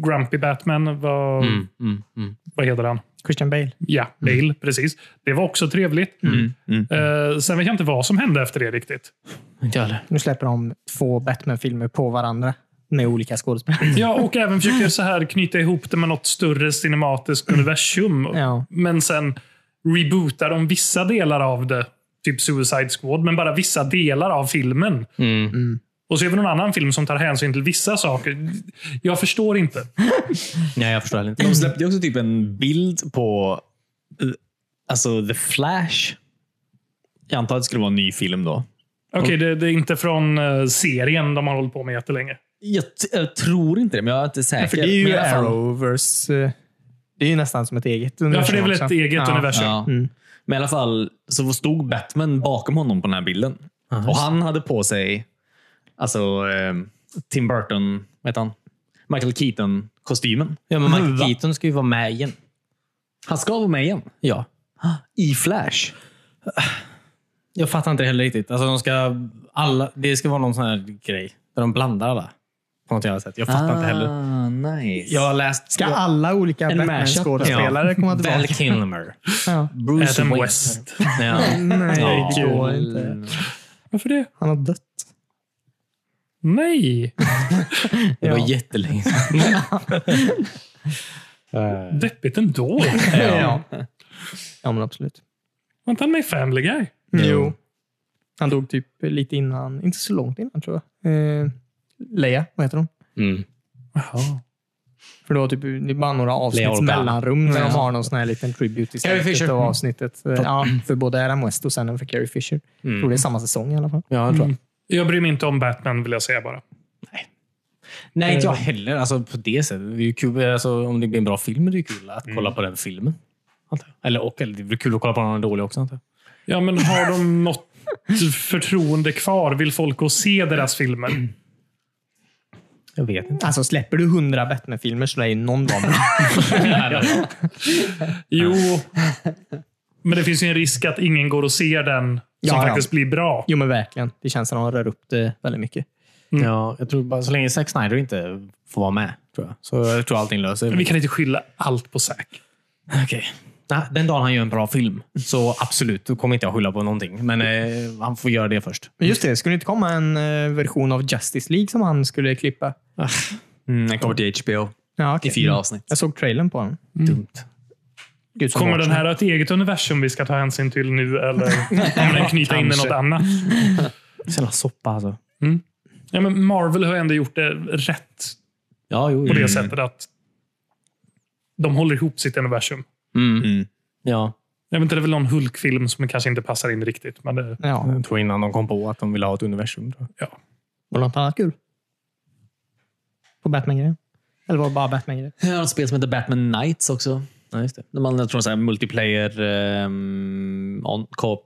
Grumpy Batman. Vad, Mm, mm, mm. vad heter han? Christian Bale. Ja, Bale. Precis. Det var också trevligt. Eh, sen vet jag inte vad som hände efter det riktigt. Inte jag heller. Nu släpper de två Batman-filmer på varandra med olika skådespelare. Ja, och även försöker så här knyta ihop det med något större cinematiskt universum. Ja. Men sen rebootar de vissa delar av det. Typ Suicide Squad, men bara vissa delar av filmen. Mm. Och så är det någon annan film som tar hänsyn till vissa saker. Jag förstår inte. Nej, jag förstår heller inte. De släppte ju också typ en bild på eh, alltså The Flash. Jag antar att det skulle vara en ny film då. Okej, det, det är inte från eh, serien de har hållit på med jättelänge. Jag, t- jag tror inte det, men jag är inte säker. För det är ju Men i alla fall- Arrowverse. eh, Det är ju nästan som ett eget Ja, universum. för det är väl också. ett eget Ja. universum. Ja. Mm. Men i alla fall så stod Batman bakom honom på den här bilden. och han hade på sig alltså eh, Tim Burton, vad heter han? Michael Keaton-kostymen. Ja, men Michael Keaton ska ju vara med igen. Han ska vara med igen. Ja. I Flash. Jag fattar inte heller riktigt. Alltså, de ska, alla, det ska vara någon sån här grej där de blandar alla. På något jävla sätt. Jag fattar inte heller. Ah, nice. Jag har läst... Ska alla olika En mashup. Batman-skådespelare komma tillbaka? Val Kilmer. Ja. Bruce Adam Wayne. West. Ja. Nej, Ja. det går inte. Varför det? Han har dött. Nej! Det var Ja. jättelänge Deppigt ändå. Ja. ja, men absolut. Var inte han med i Family Guy? Jo. Han dog typ lite innan, inte så långt innan tror jag. Eh, Leia, vad heter hon? Mm. Jaha. För det var typ det är bara några Leia avsnitts Organa. mellanrum när de har någon sån här liten tribute i Carrie slutet Fisher. av avsnittet. Eh, Ja, för både Adam West och sen för Carrie Fisher. Jag tror det är samma säsong i alla fall. Ja, jag tror Jag bryr mig inte om Batman, vill jag säga bara. Nej, inte jag heller. Alltså, på det sättet. Det är ju kul. Alltså, om det blir en bra film är det ju kul att kolla på den filmen. antar jag. Eller, och, eller det blir kul att kolla på någon dålig också. Antar jag. Ja, men har de något förtroende kvar? Vill folk gå och se deras filmer? jag vet inte. Alltså släpper du hundra Batman-filmer så lär ju någon vara med. Jo, men det finns ju en risk att ingen går och ser den Ja, som ja. faktiskt blir bra. Jo men verkligen. Det känns som att de rör upp det väldigt mycket. Ja, jag tror bara så länge Zack Snyder inte får vara med. Tror jag. Så jag tror allting löser Men vi sig. kan inte skylla allt på Zack. Mm. Okej. Nej, Ah, Den dagen han gör en bra film, så absolut. Då kommer inte jag skylla på någonting. Men eh, han får göra det först. Men just det, skulle det inte komma en eh, version av Justice League som han skulle klippa? Mm, den kommer till HBO Ja, i okej. Mm. fyra avsnitt. Jag såg trailern på den. Dumt. Gud, som Kommer vart den som- här ha ett eget universum vi ska ta hänsyn till nu eller kommer den knyta in i något annat? Så jävla soppa alltså. Ja, men Marvel har ändå gjort det rätt Ja, jo. på det jo. sättet att de håller ihop sitt universum. Mm. Ja, Jag vet inte, det är väl någon Hulk-film som kanske inte passar in riktigt. Men eh, det, Ja, jag tror innan de kom på att de ville ha ett universum. Tror jag. ja. var det något annat kul? På Batman-grejen? Eller var det bara Batman-grejer? Jag har ett spel som heter Batman Knights också. Ja, just det. När man jag tror så här multiplayer, um, on cop.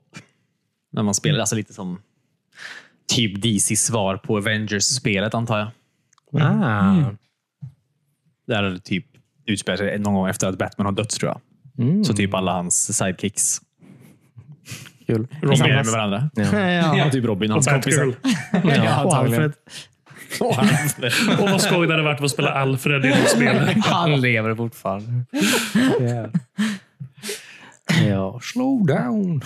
När man spelar alltså lite som typ DC svar på Avengers-spelet antar jag. Ah. Där det typ utspelar sig någon gång efter att Batman har dött tror jag. Så typ alla hans sidekicks Kul. Robin med varandra. Ja. Ja, ja. typ Robin och Och hans Batgirl. kompisar. ja och antagligen. Alfred. Och hans- Och vad skoj det hade varit att spela Alfred i det spelet. Han lever fortfarande. ja. Slow down.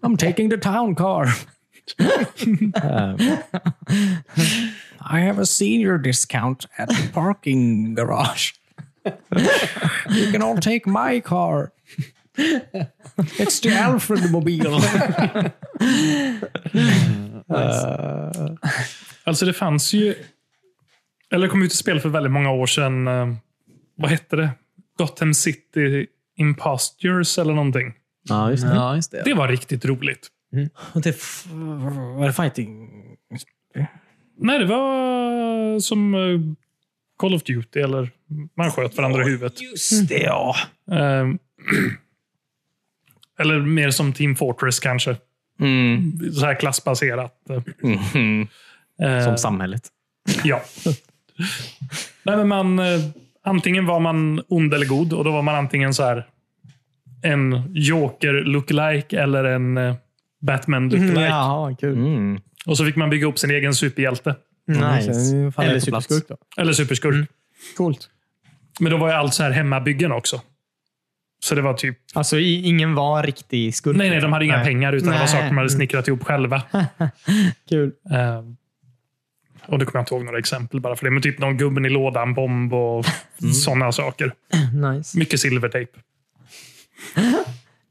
I'm taking the town car. um, I have a senior discount at the parking garage. you can all take my car. It's the Alfred mobile. Alltså det fanns ju... Eller det kom ut ett spel för väldigt många år sedan. eh, Vad hette det? Gotham City Impostures eller någonting. Ja, just Ja, just det. Det var riktigt roligt. Var det fighting? Nej, det var som eh, Call of Duty eller man sköt varandra i huvudet. Just det, ja. Eh, Eller mer som Team Fortress kanske. Mm. Så här klassbaserat. eh. Eh, Som samhället. Ja. Nej, men man, eh, antingen var man ond eller god och då var man antingen så här en joker lookalike eller en eh, Mhm, Batman lookalike. Jaha, kul. Mm. Och så fick man bygga upp sin egen superhjälte. Nice. Faller Eller på plats. superskurk då. Eller superskurk. Mm. Coolt. Men då var ju allt så här hemmabyggen också. Så det var typ... Alltså, i- ingen var riktig skurk. Nej, nej, de hade inga Nej. pengar utan det var Nej. Mm. saker man hade snickrat ihop själva. Kul. Eh, och då kommer jag inte ihåg några exempel bara för det. Men typ någon gubben i lådan, bomb och Mm. sådana saker. Nice. Mycket silvertejp.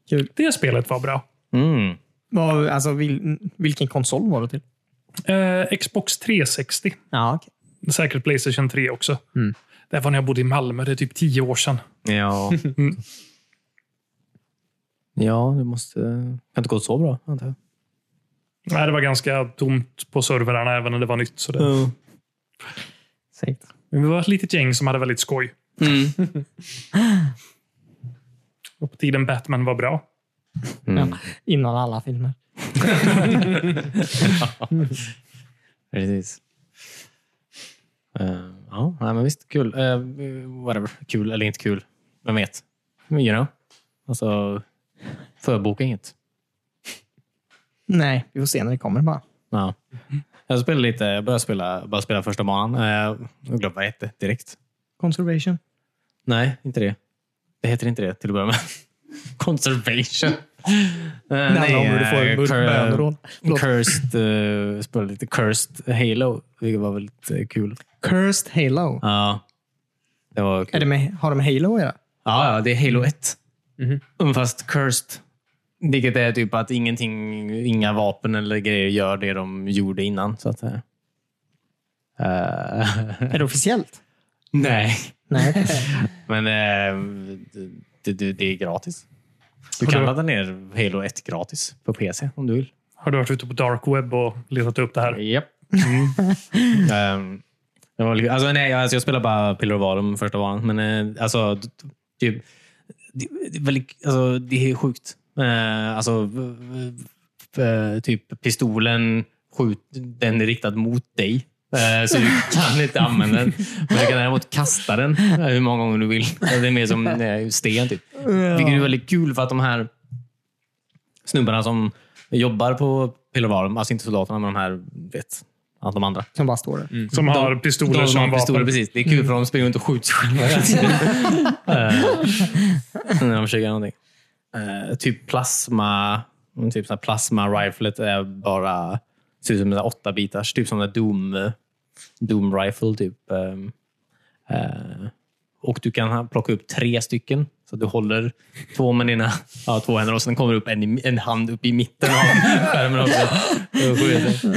Kul. Det spelet var bra. Mm. Vad, alltså, vil, vilken konsol var det till? Eh, Xbox 360. Ja, okej. Säkert Playstation 3 också. Det var när jag bodde i Malmö. Det är typ tio år sedan. Ja. Ja, det måste... kan inte gå så bra, antar jag. Nej, det var ganska tomt på servrarna även när det var nytt. Så det. Säkert. Men vi var ett litet gäng som hade väldigt skoj. Mm. Och på tiden Batman var bra. Ja. Innan alla filmer. Precis. Eh, ja, nej, men visst. Kul. Eh, whatever. Kul eller inte kul. Vem vet? Men, You know. Alltså, förboka inget. Nej, vi får se när det kommer bara. Ja. Jag spelade lite. Jag började spela, bara spela första banan. Eh, jag glömde vad det hette direkt. Conservation. Nej, inte det. Det heter inte det till att börja med. Conservation. Uh, Det handlar om hur du får en burk böneråd. Förlåt. Cursed, eh, spelade lite Cursed Halo, vilket var väldigt eh, kul. Cursed Halo. Ja, det var kul. Är det med, har det med Halo att göra? Ja, ja, det är Halo 1. Mhm. Mm. Fast cursed. Vilket är typ att ingenting, inga vapen eller grejer gör det de gjorde innan. Så att säga. Eh, Är det officiellt? nej, Nej. men eh, det, det, det är gratis. Du Har kan du- ladda ner Halo 1 gratis på PC om du vill. Har du varit ute på dark web och letat upp det här? Japp. Ehm, det var lite- alltså, nej, alltså, jag spelar bara Pillar of Valum första banan. Men eh, alltså, d- typ, det, det, är väldigt, alltså, det är sjukt. Eh, alltså, v- v- eh, typ pistolen, skjut, den är riktad mot dig. Eh, Så du kan inte använda den. Men du kan däremot kasta den eh, hur många gånger du vill. Det är mer som eh, sten. Typ. Vilket är väldigt kul för att de här snubbarna som jobbar på Pilovarum, alltså inte soldaterna, men de här, vet, allt de andra. Som bara står där. Som har De pistoler som, som har pistoler, vapen. precis. Det är kul för de springer runt och skjuter sig själva hela tiden. Eh, När de försöker göra någonting. Eh, typ plasma, typ så här plasma riflet är bara, ser ut som en åtta bitars, typ som en doom, doom rifle typ. Ehm, eh, och du kan ha- plocka upp tre stycken. Så du håller två med dina ja, två händer och sen kommer det upp en, i- en hand upp i mitten av skärmen också. Och skjuter.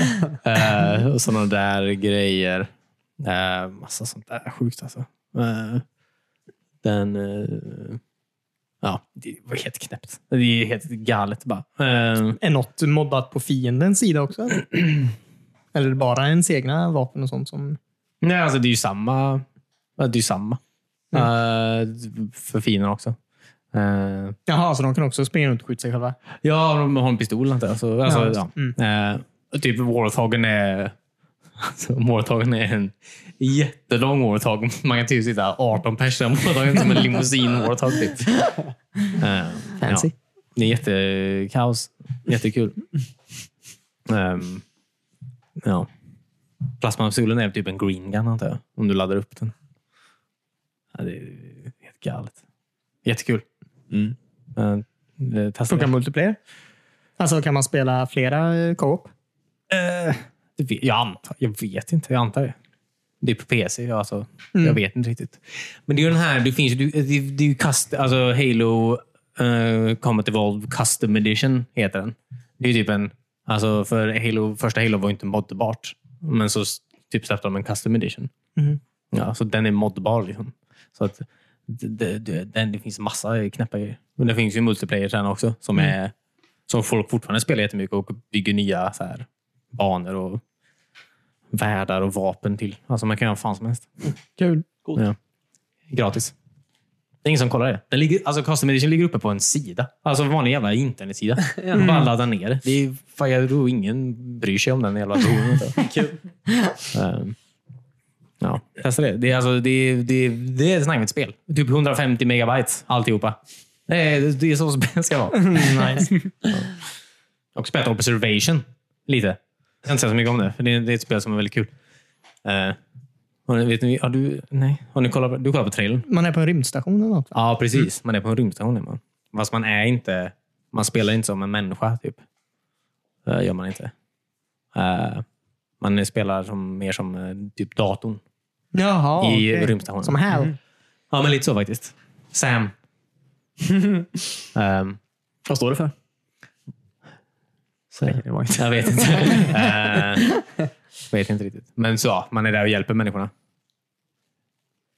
Eh, och sådana där grejer. Eh, massa sånt där sjukt alltså. Eh, den... eh, ja, det var helt knäppt. Det är helt galet bara. Eh, Är något moddat på fiendens sida också? Eller, eller är det bara ens egna vapen och sånt som... nej, alltså det är ju samma... Ja, det är ju samma. Eh, för fienden också. Eh, Jaha, så de kan också springa runt och skjuta sig själva? ja, de har en pistol antar jag. Så, alltså, Ja, Mm. ja. Eh, typ Warthogen är... Alltså, Warthogen är en jättelång Warthog. Man kan typ sitta 18 personer på Warthogen som en limousin Warthog. Typ. Eh, Fancy. Ja. Det är jättekaos. Jättekul. Um, ja. Plasmapistolen är typ en green gun antar jag. Om du laddar upp den. Ja, det är helt galet. Jättekul. Mm. Eh, det testar Funkar jag. multiplayer? Alltså kan man spela flera eh, co-op? Eh, det vet, jag, antar, jag vet inte. Jag antar det. Det är på PC. ja, Alltså, Jag vet inte riktigt. Men det är ju den här. Det finns ju du- det, det är ju cust, alltså Halo eh, Combat Evolved Custom Edition heter den. Det är ju typ en... Alltså för Halo, första Halo var ju inte moddbart. Men så s- typ släppte de en Custom Edition. Ja, så den är moddbar. Liksom. Så att det, det, det, den, det finns massa knäppa grejer. Men det finns ju multiplayer sen också som, är, som folk fortfarande spelar jättemycket och bygger nya så här, banor och världar och vapen till. Alltså man kan göra vad fan som helst. Kul. Ja. Gratis. Det är ingen som kollar det. Den ligger, alltså Custom Edition ligger uppe på en sida. Alltså en vanlig jävla internetsida. Mm. Bara laddar ner det. det. är- fan, Jag tror ingen bryr sig om den jävla versionen. Kul. ja, testa det. Det är, alltså, det, är- det, är- det är ett snackigt spel. Typ 150 megabyte alltihopa. Det är, det är så spel ska vara. nice. Och spelat Observation lite. Jag kan inte säga så mycket om det, för det är, det är ett spel som är väldigt kul. Eh, har ni, vet ni, har du, nej, har ni kollat, på- du kollar på trailern? Man är på en rymdstation eller något? va? Ja, precis. Man är på en rymdstation. är Man. Fast man är inte... Man spelar inte som en människa, typ. Det gör man inte. Eh, man spelar som, mer som eh, typ datorn. I Jaha, okej. Mm. rymdstationen. Som Hal. Ja, men lite så faktiskt. Sam. Ehm, Vad står det för? så, jag vet inte. Eh, vet inte riktigt. Men så, ja, man är där och hjälper människorna.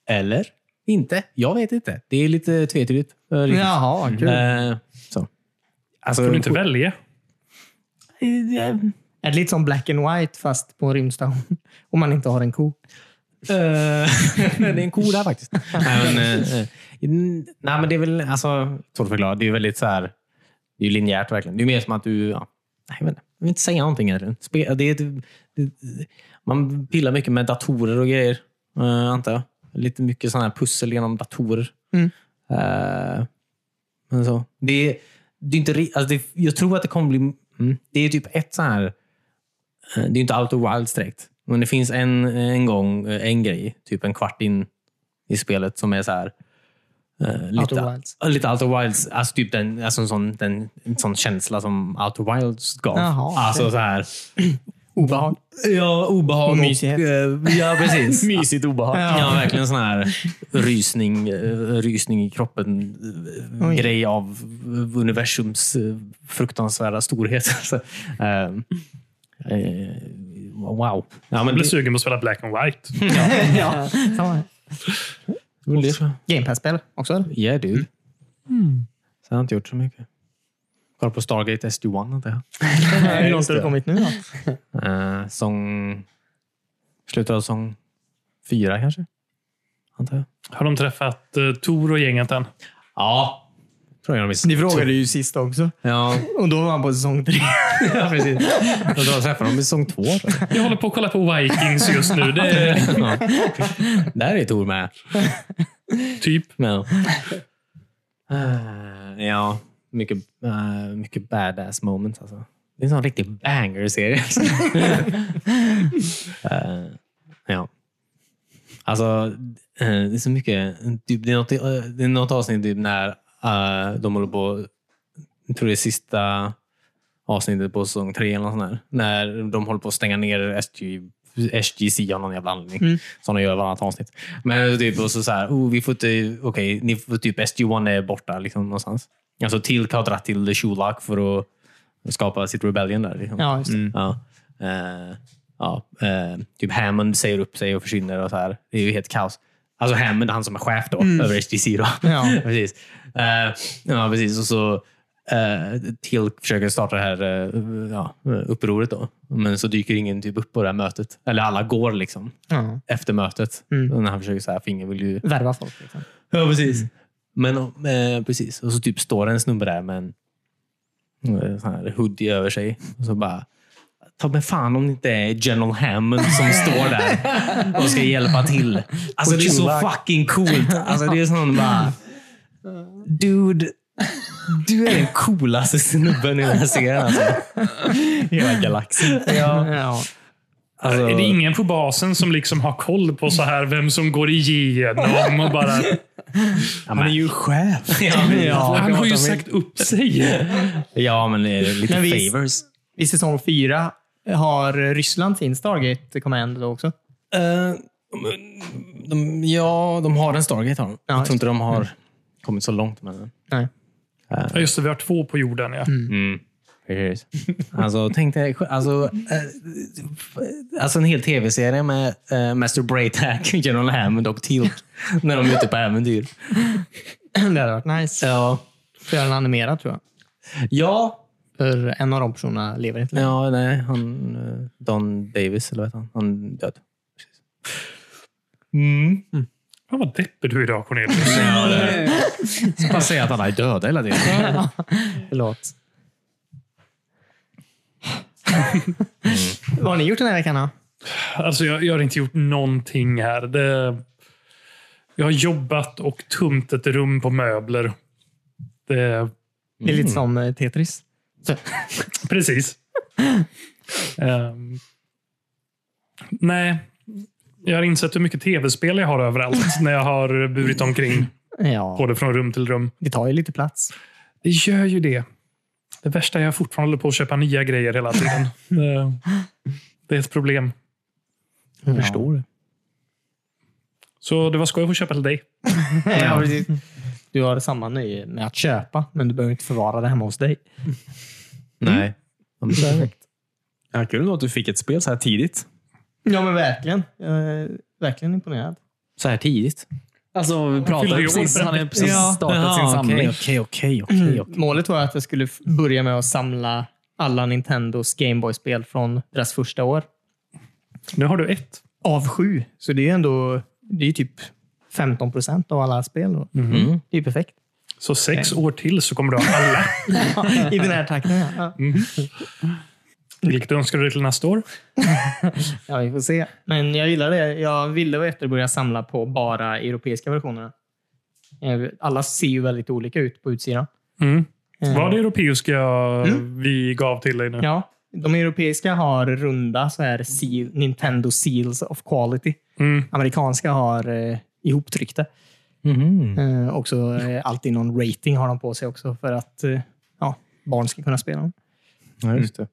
Eller? Inte. Jag vet inte. Det är lite tvetydigt. eh, riktigt. Mm. Jaha, kul. Eh, så. Alltså, Får du inte välja? eh, Är det lite som Black and White fast på en rymdstation? Om man inte har en ko. Eh, det är en ko där faktiskt. nej, men, eh, eh, n- nej, men det är väl alltså, svårt att förklara. Det är ju väldigt så här, det är ju linjärt verkligen. Det är mer som att du, ja, nej, jag, vet inte, jag vill inte säga någonting egentligen. Spe, det är ett, det, man pillar mycket med datorer och grejer, eh, antar jag. Lite mycket sådana här pussel genom datorer. Mm. Eh, men så. Det, är- det är inte, ri- alltså det, jag tror att det kommer bli, mm, det är typ ett så här eh, det är ju inte Out of Wilds direkt. Men det finns en, en gång, en grej, typ en kvart in i spelet som är så här. eh, lite, Outer Wilds. ja, Lite Out of Wilds. Alltså typ den, alltså en, sån, den, en sån känsla som Out of Wilds gav. Jaha. alltså så här. Obehag. Ja, obehag. och, Mysighet. eh, ja, precis. Mysigt obehag. Ja, Ja. verkligen sån här rysning, eh, rysning i kroppen. eh, Oj. Grej av eh, universums eh, fruktansvärda storhet. Så, eh, eh, wow. Ja, men Jag blir det, sugen på att spela Black and White. ja. samma här. Game Pass-spel också? eller? yeah, dude. Så jag har inte gjort så mycket. Kolla på Stargate SD1. antar jag. Hur långt har du kommit nu då? Eh, sång... Slutet av sång fyra kanske? Antar jag. Har de träffat uh, Tor och gänget än? Ja. Tror jag de visst. Ni frågade ju sist också. Ja, Och då var han på säsong tre. ja precis. Jag tror jag träffade dem i säsong två. tror jag. Jag håller på att kolla på Vikings just nu. Det är Ja. Där är Tor med. typ Ja. Eh, ja, mycket, eh, mycket badass moments. Alltså. Det är en sån riktig banger-serie. Eh, ja. Alltså, eh, det är så mycket. Typ, det, är något, eh, det är något avsnitt typ, när eh, de håller på, jag tror det är sista avsnittet på säsong tre eller något sånt där, när de håller på att stänga ner SG, SGC av någon jävla anledning. Mm. Som de gör varannat avsnitt. Men typ, och så, så här, oh, vi får inte, okej, ni får typ SG1 är borta liksom, någonstans. Alltså Tilk har dragit till Shulak för att skapa sitt rebellion där. Liksom. Ja, just det. Ja. Eh, ja. Eh, typ Hammond säger upp sig och försvinner. och så här. Det är ju helt kaos. Alltså Hammond, han som är chef då, över HTC. Då. Mm. Ja. precis. Eh, ja, precis. Och så eh, till försöker starta det här eh, ja, upproret. Då. Men så dyker ingen typ upp på det här mötet. Eller alla går liksom Ja. efter mötet. Mm. Och När han försöker säga för ingen vill ju... Värva folk. Liksom. Ja, precis. Mm. Men eh, precis. Och så typ står en snubbe där med en eh, sån här hoodie över sig. Och så bara... Ta mig fan om det inte är General Hammond som står där och ska hjälpa till. Alltså det är så fucking coolt. Alltså det är sån bara... Dude. Du är den coolaste snubben i den här serien. Alltså. Hela galaxen. Ja. Ja. Alltså, Är det ingen på basen som liksom har koll på så här vem som går igenom och bara... ja, men, ju chef. Ja, han har pratar ju vi- sagt upp sig. ja, men det är lite Men vi- favors. I säsong fyra har Ryssland sin Stargate Command då också. Eh, de, de, ja, de har en Stargate. Har de. Ja, jag just tror inte de har kommit så långt med den. Nej. Ja, just det, vi har två på jorden. Ja. Mm. Precis. Alltså, tänk dig, alltså, eh, alltså en hel tv-serie med eh, Master Braytack, General Hammond och Tilk när de är ute på äventyr. Det hade varit nice. Ja, För en animerad tror jag. ja, För en av de personerna lever inte längre. ja nej, han, eh, Don Davis, eller vad heter han? Han är död. Mm. Fan vad deppig du är idag Cornelius. Bara säga att alla är döda hela tiden. Förlåt. Mm. Vad har ni gjort den här veckan då? Alltså, jag, jag har inte gjort någonting här. Det, jag har jobbat och tömt ett rum på möbler. Det, Det är lite som eh, Tetris. precis. Ehm, nej, jag har insett hur mycket tv-spel jag har överallt när jag har burit omkring. Ja, Både från rum till rum. det tar ju lite plats. Det gör ju det. Det värsta är att jag fortfarande håller på att köpa nya grejer hela tiden. Det, det är ett problem. Jag förstår det. Så det var skoj att få köpa till dig. Ja, precis. du har samma nöje med att köpa, men du behöver inte förvara det hemma hos dig. Nej. Mm. Ja, kul ändå att du fick ett spel så här tidigt. Ja, men verkligen. Jag är verkligen imponerad. Så här tidigt? Alltså, vi fyller pratade ju precis. år. Han har precis Ja. startat sin samling. Okej, okej, okej. okej. Målet var att jag skulle f- börja med att samla alla Nintendos Gameboy-spel från deras första år. Nu har du ett. Av sju. Så det är ju ändå det är ju typ 15 procent av alla spel. Då. Mm. Det är ju perfekt. Så sex år till så kommer du ha alla. I den här takten, ja. ja. Vilket önskar du dig till nästa år? Ja, vi får se. Men jag gillar det. Jag ville och efter börja samla på bara europeiska versionerna. Eh, Alla ser ju väldigt olika ut på utsidan. Mm. Eh, Var det europeiska vi gav till dig nu? Ja. De europeiska har runda så här seal, Nintendo Seals of Quality. Mm. Amerikanska har eh, ihoptryckta. Mm. Eh, också eh, alltid någon rating har de på sig också för att eh, ja, barn ska kunna spela dem. Ja, just det.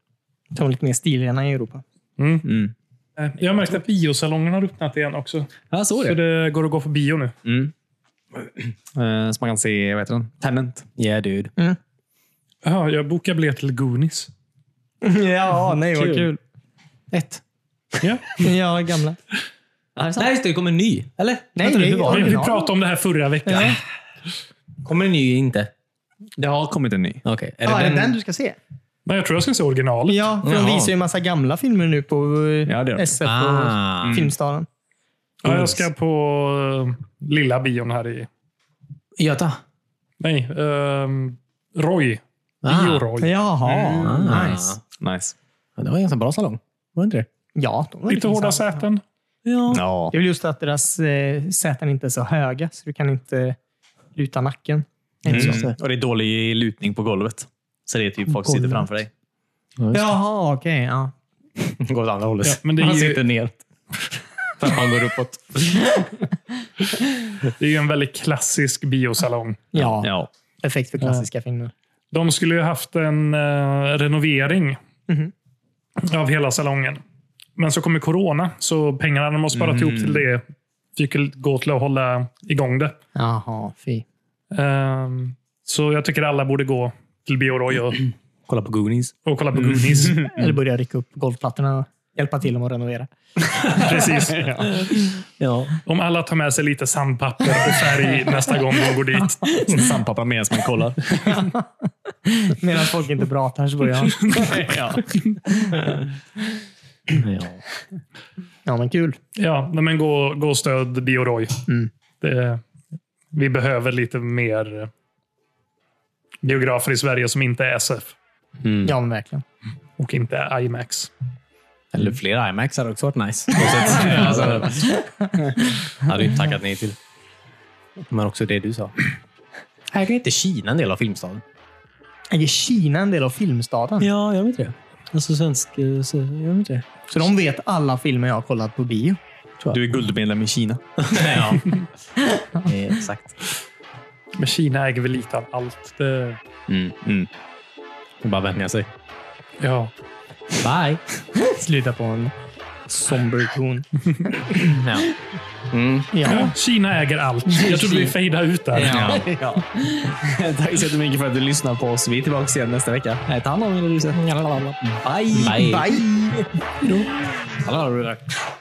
De är lite mer stilrena i Europa. Mm. Eh, Jag har märkt att biosalongen har öppnat igen också. Jag såg Så det. det går att gå på bio nu. Mm. Eh, Så man kan se, vad heter den? Tenant. Yeah, dude. Mm. Ja, jag bokar biljett till Goonies. ja, nej vad kul. Ett. Ja. Ja, gamla. Nej, just det. Det kommer en ny. Eller? Nej, Vänta nu, det hur var Vi, det? vi original. pratade om det här förra veckan. Kommer en ny inte? Det har kommit en ny. Okej. Ja, är det den du ska se? Men jag tror jag ska se originalet. Ja, för de Jaha. visar ju en massa gamla filmer nu på eh, Ja, det gör de. SF och Ah. Mm. Filmstaden. Ja, jag ska på eh, lilla bion här i... Göta? Nej, ehm, Roy. Ah. Bio-Roy. Jaha, Ah. nice. Nice. Ja, Det var en ganska bra salong. Var det inte det? Ja, de var Lite hårda intressanta. säten. Ja. Ja. Det är väl just att deras eh, säten inte är så höga, så du kan inte luta nacken. Mm. Och det är dålig lutning på golvet. Så det är typ folk som sitter Golvet. framför dig. Jaha, okej. ja. Går åt andra hållet. Ja, men det är Man ju- sitter ner. För att man går uppåt. Det är ju en väldigt klassisk biosalong. Ja, Ja. perfekt för klassiska filmer. De skulle ju haft en eh, renovering Mhm. av hela salongen. Men så kom ju corona, så pengarna de har sparat Mm. ihop till det fick ju gå till att hålla igång det. Jaha, fy. Ehm, så jag tycker alla borde gå till Bioroy och, Kolla på Goonies. Mm. och kolla på Goonies. Mm. Eller börja rycka upp golvplattorna och hjälpa till dem att renovera. Precis. Ja. Om alla tar med sig lite sandpapper och färg nästa gång de går dit. Sin sandpappa medan man kollar. Medan folk inte pratar så börjar han. ja. Ja. Ja, men kul. Ja, nej, men gå, gå och stöd Bioroy. Mm. Det, vi behöver lite mer eh, biografer i Sverige som inte är SF Mm. Ja, men verkligen. och inte är IMAX. Eller fler IMAX hade också varit nice. alltså, hade ju inte tackat nej till. Men också det du sa. Äger inte Kina en del av filmstaden? Är Kina en del av filmstaden? Ja, jag vet det. Alltså svensk... Så, jag vet inte det. Så de vet alla filmer jag har kollat på bio. Du är guldmedlem i Kina. ja. Eh, Exakt. Men Kina äger väl lite av allt. Det, Mm. Och bara vänja sig. ja. Bye! Sluta på en somber ton. Ja. Mm. Ja. Kina äger allt. Jag trodde vi fejdade ut där. Ja. Ja. Tack så jättemycket för att du lyssnar på oss. Vi är tillbaka igen nästa vecka. Eh, Ta hand om er, du. Bye! Bye. Bye! Hallå, Rudolf.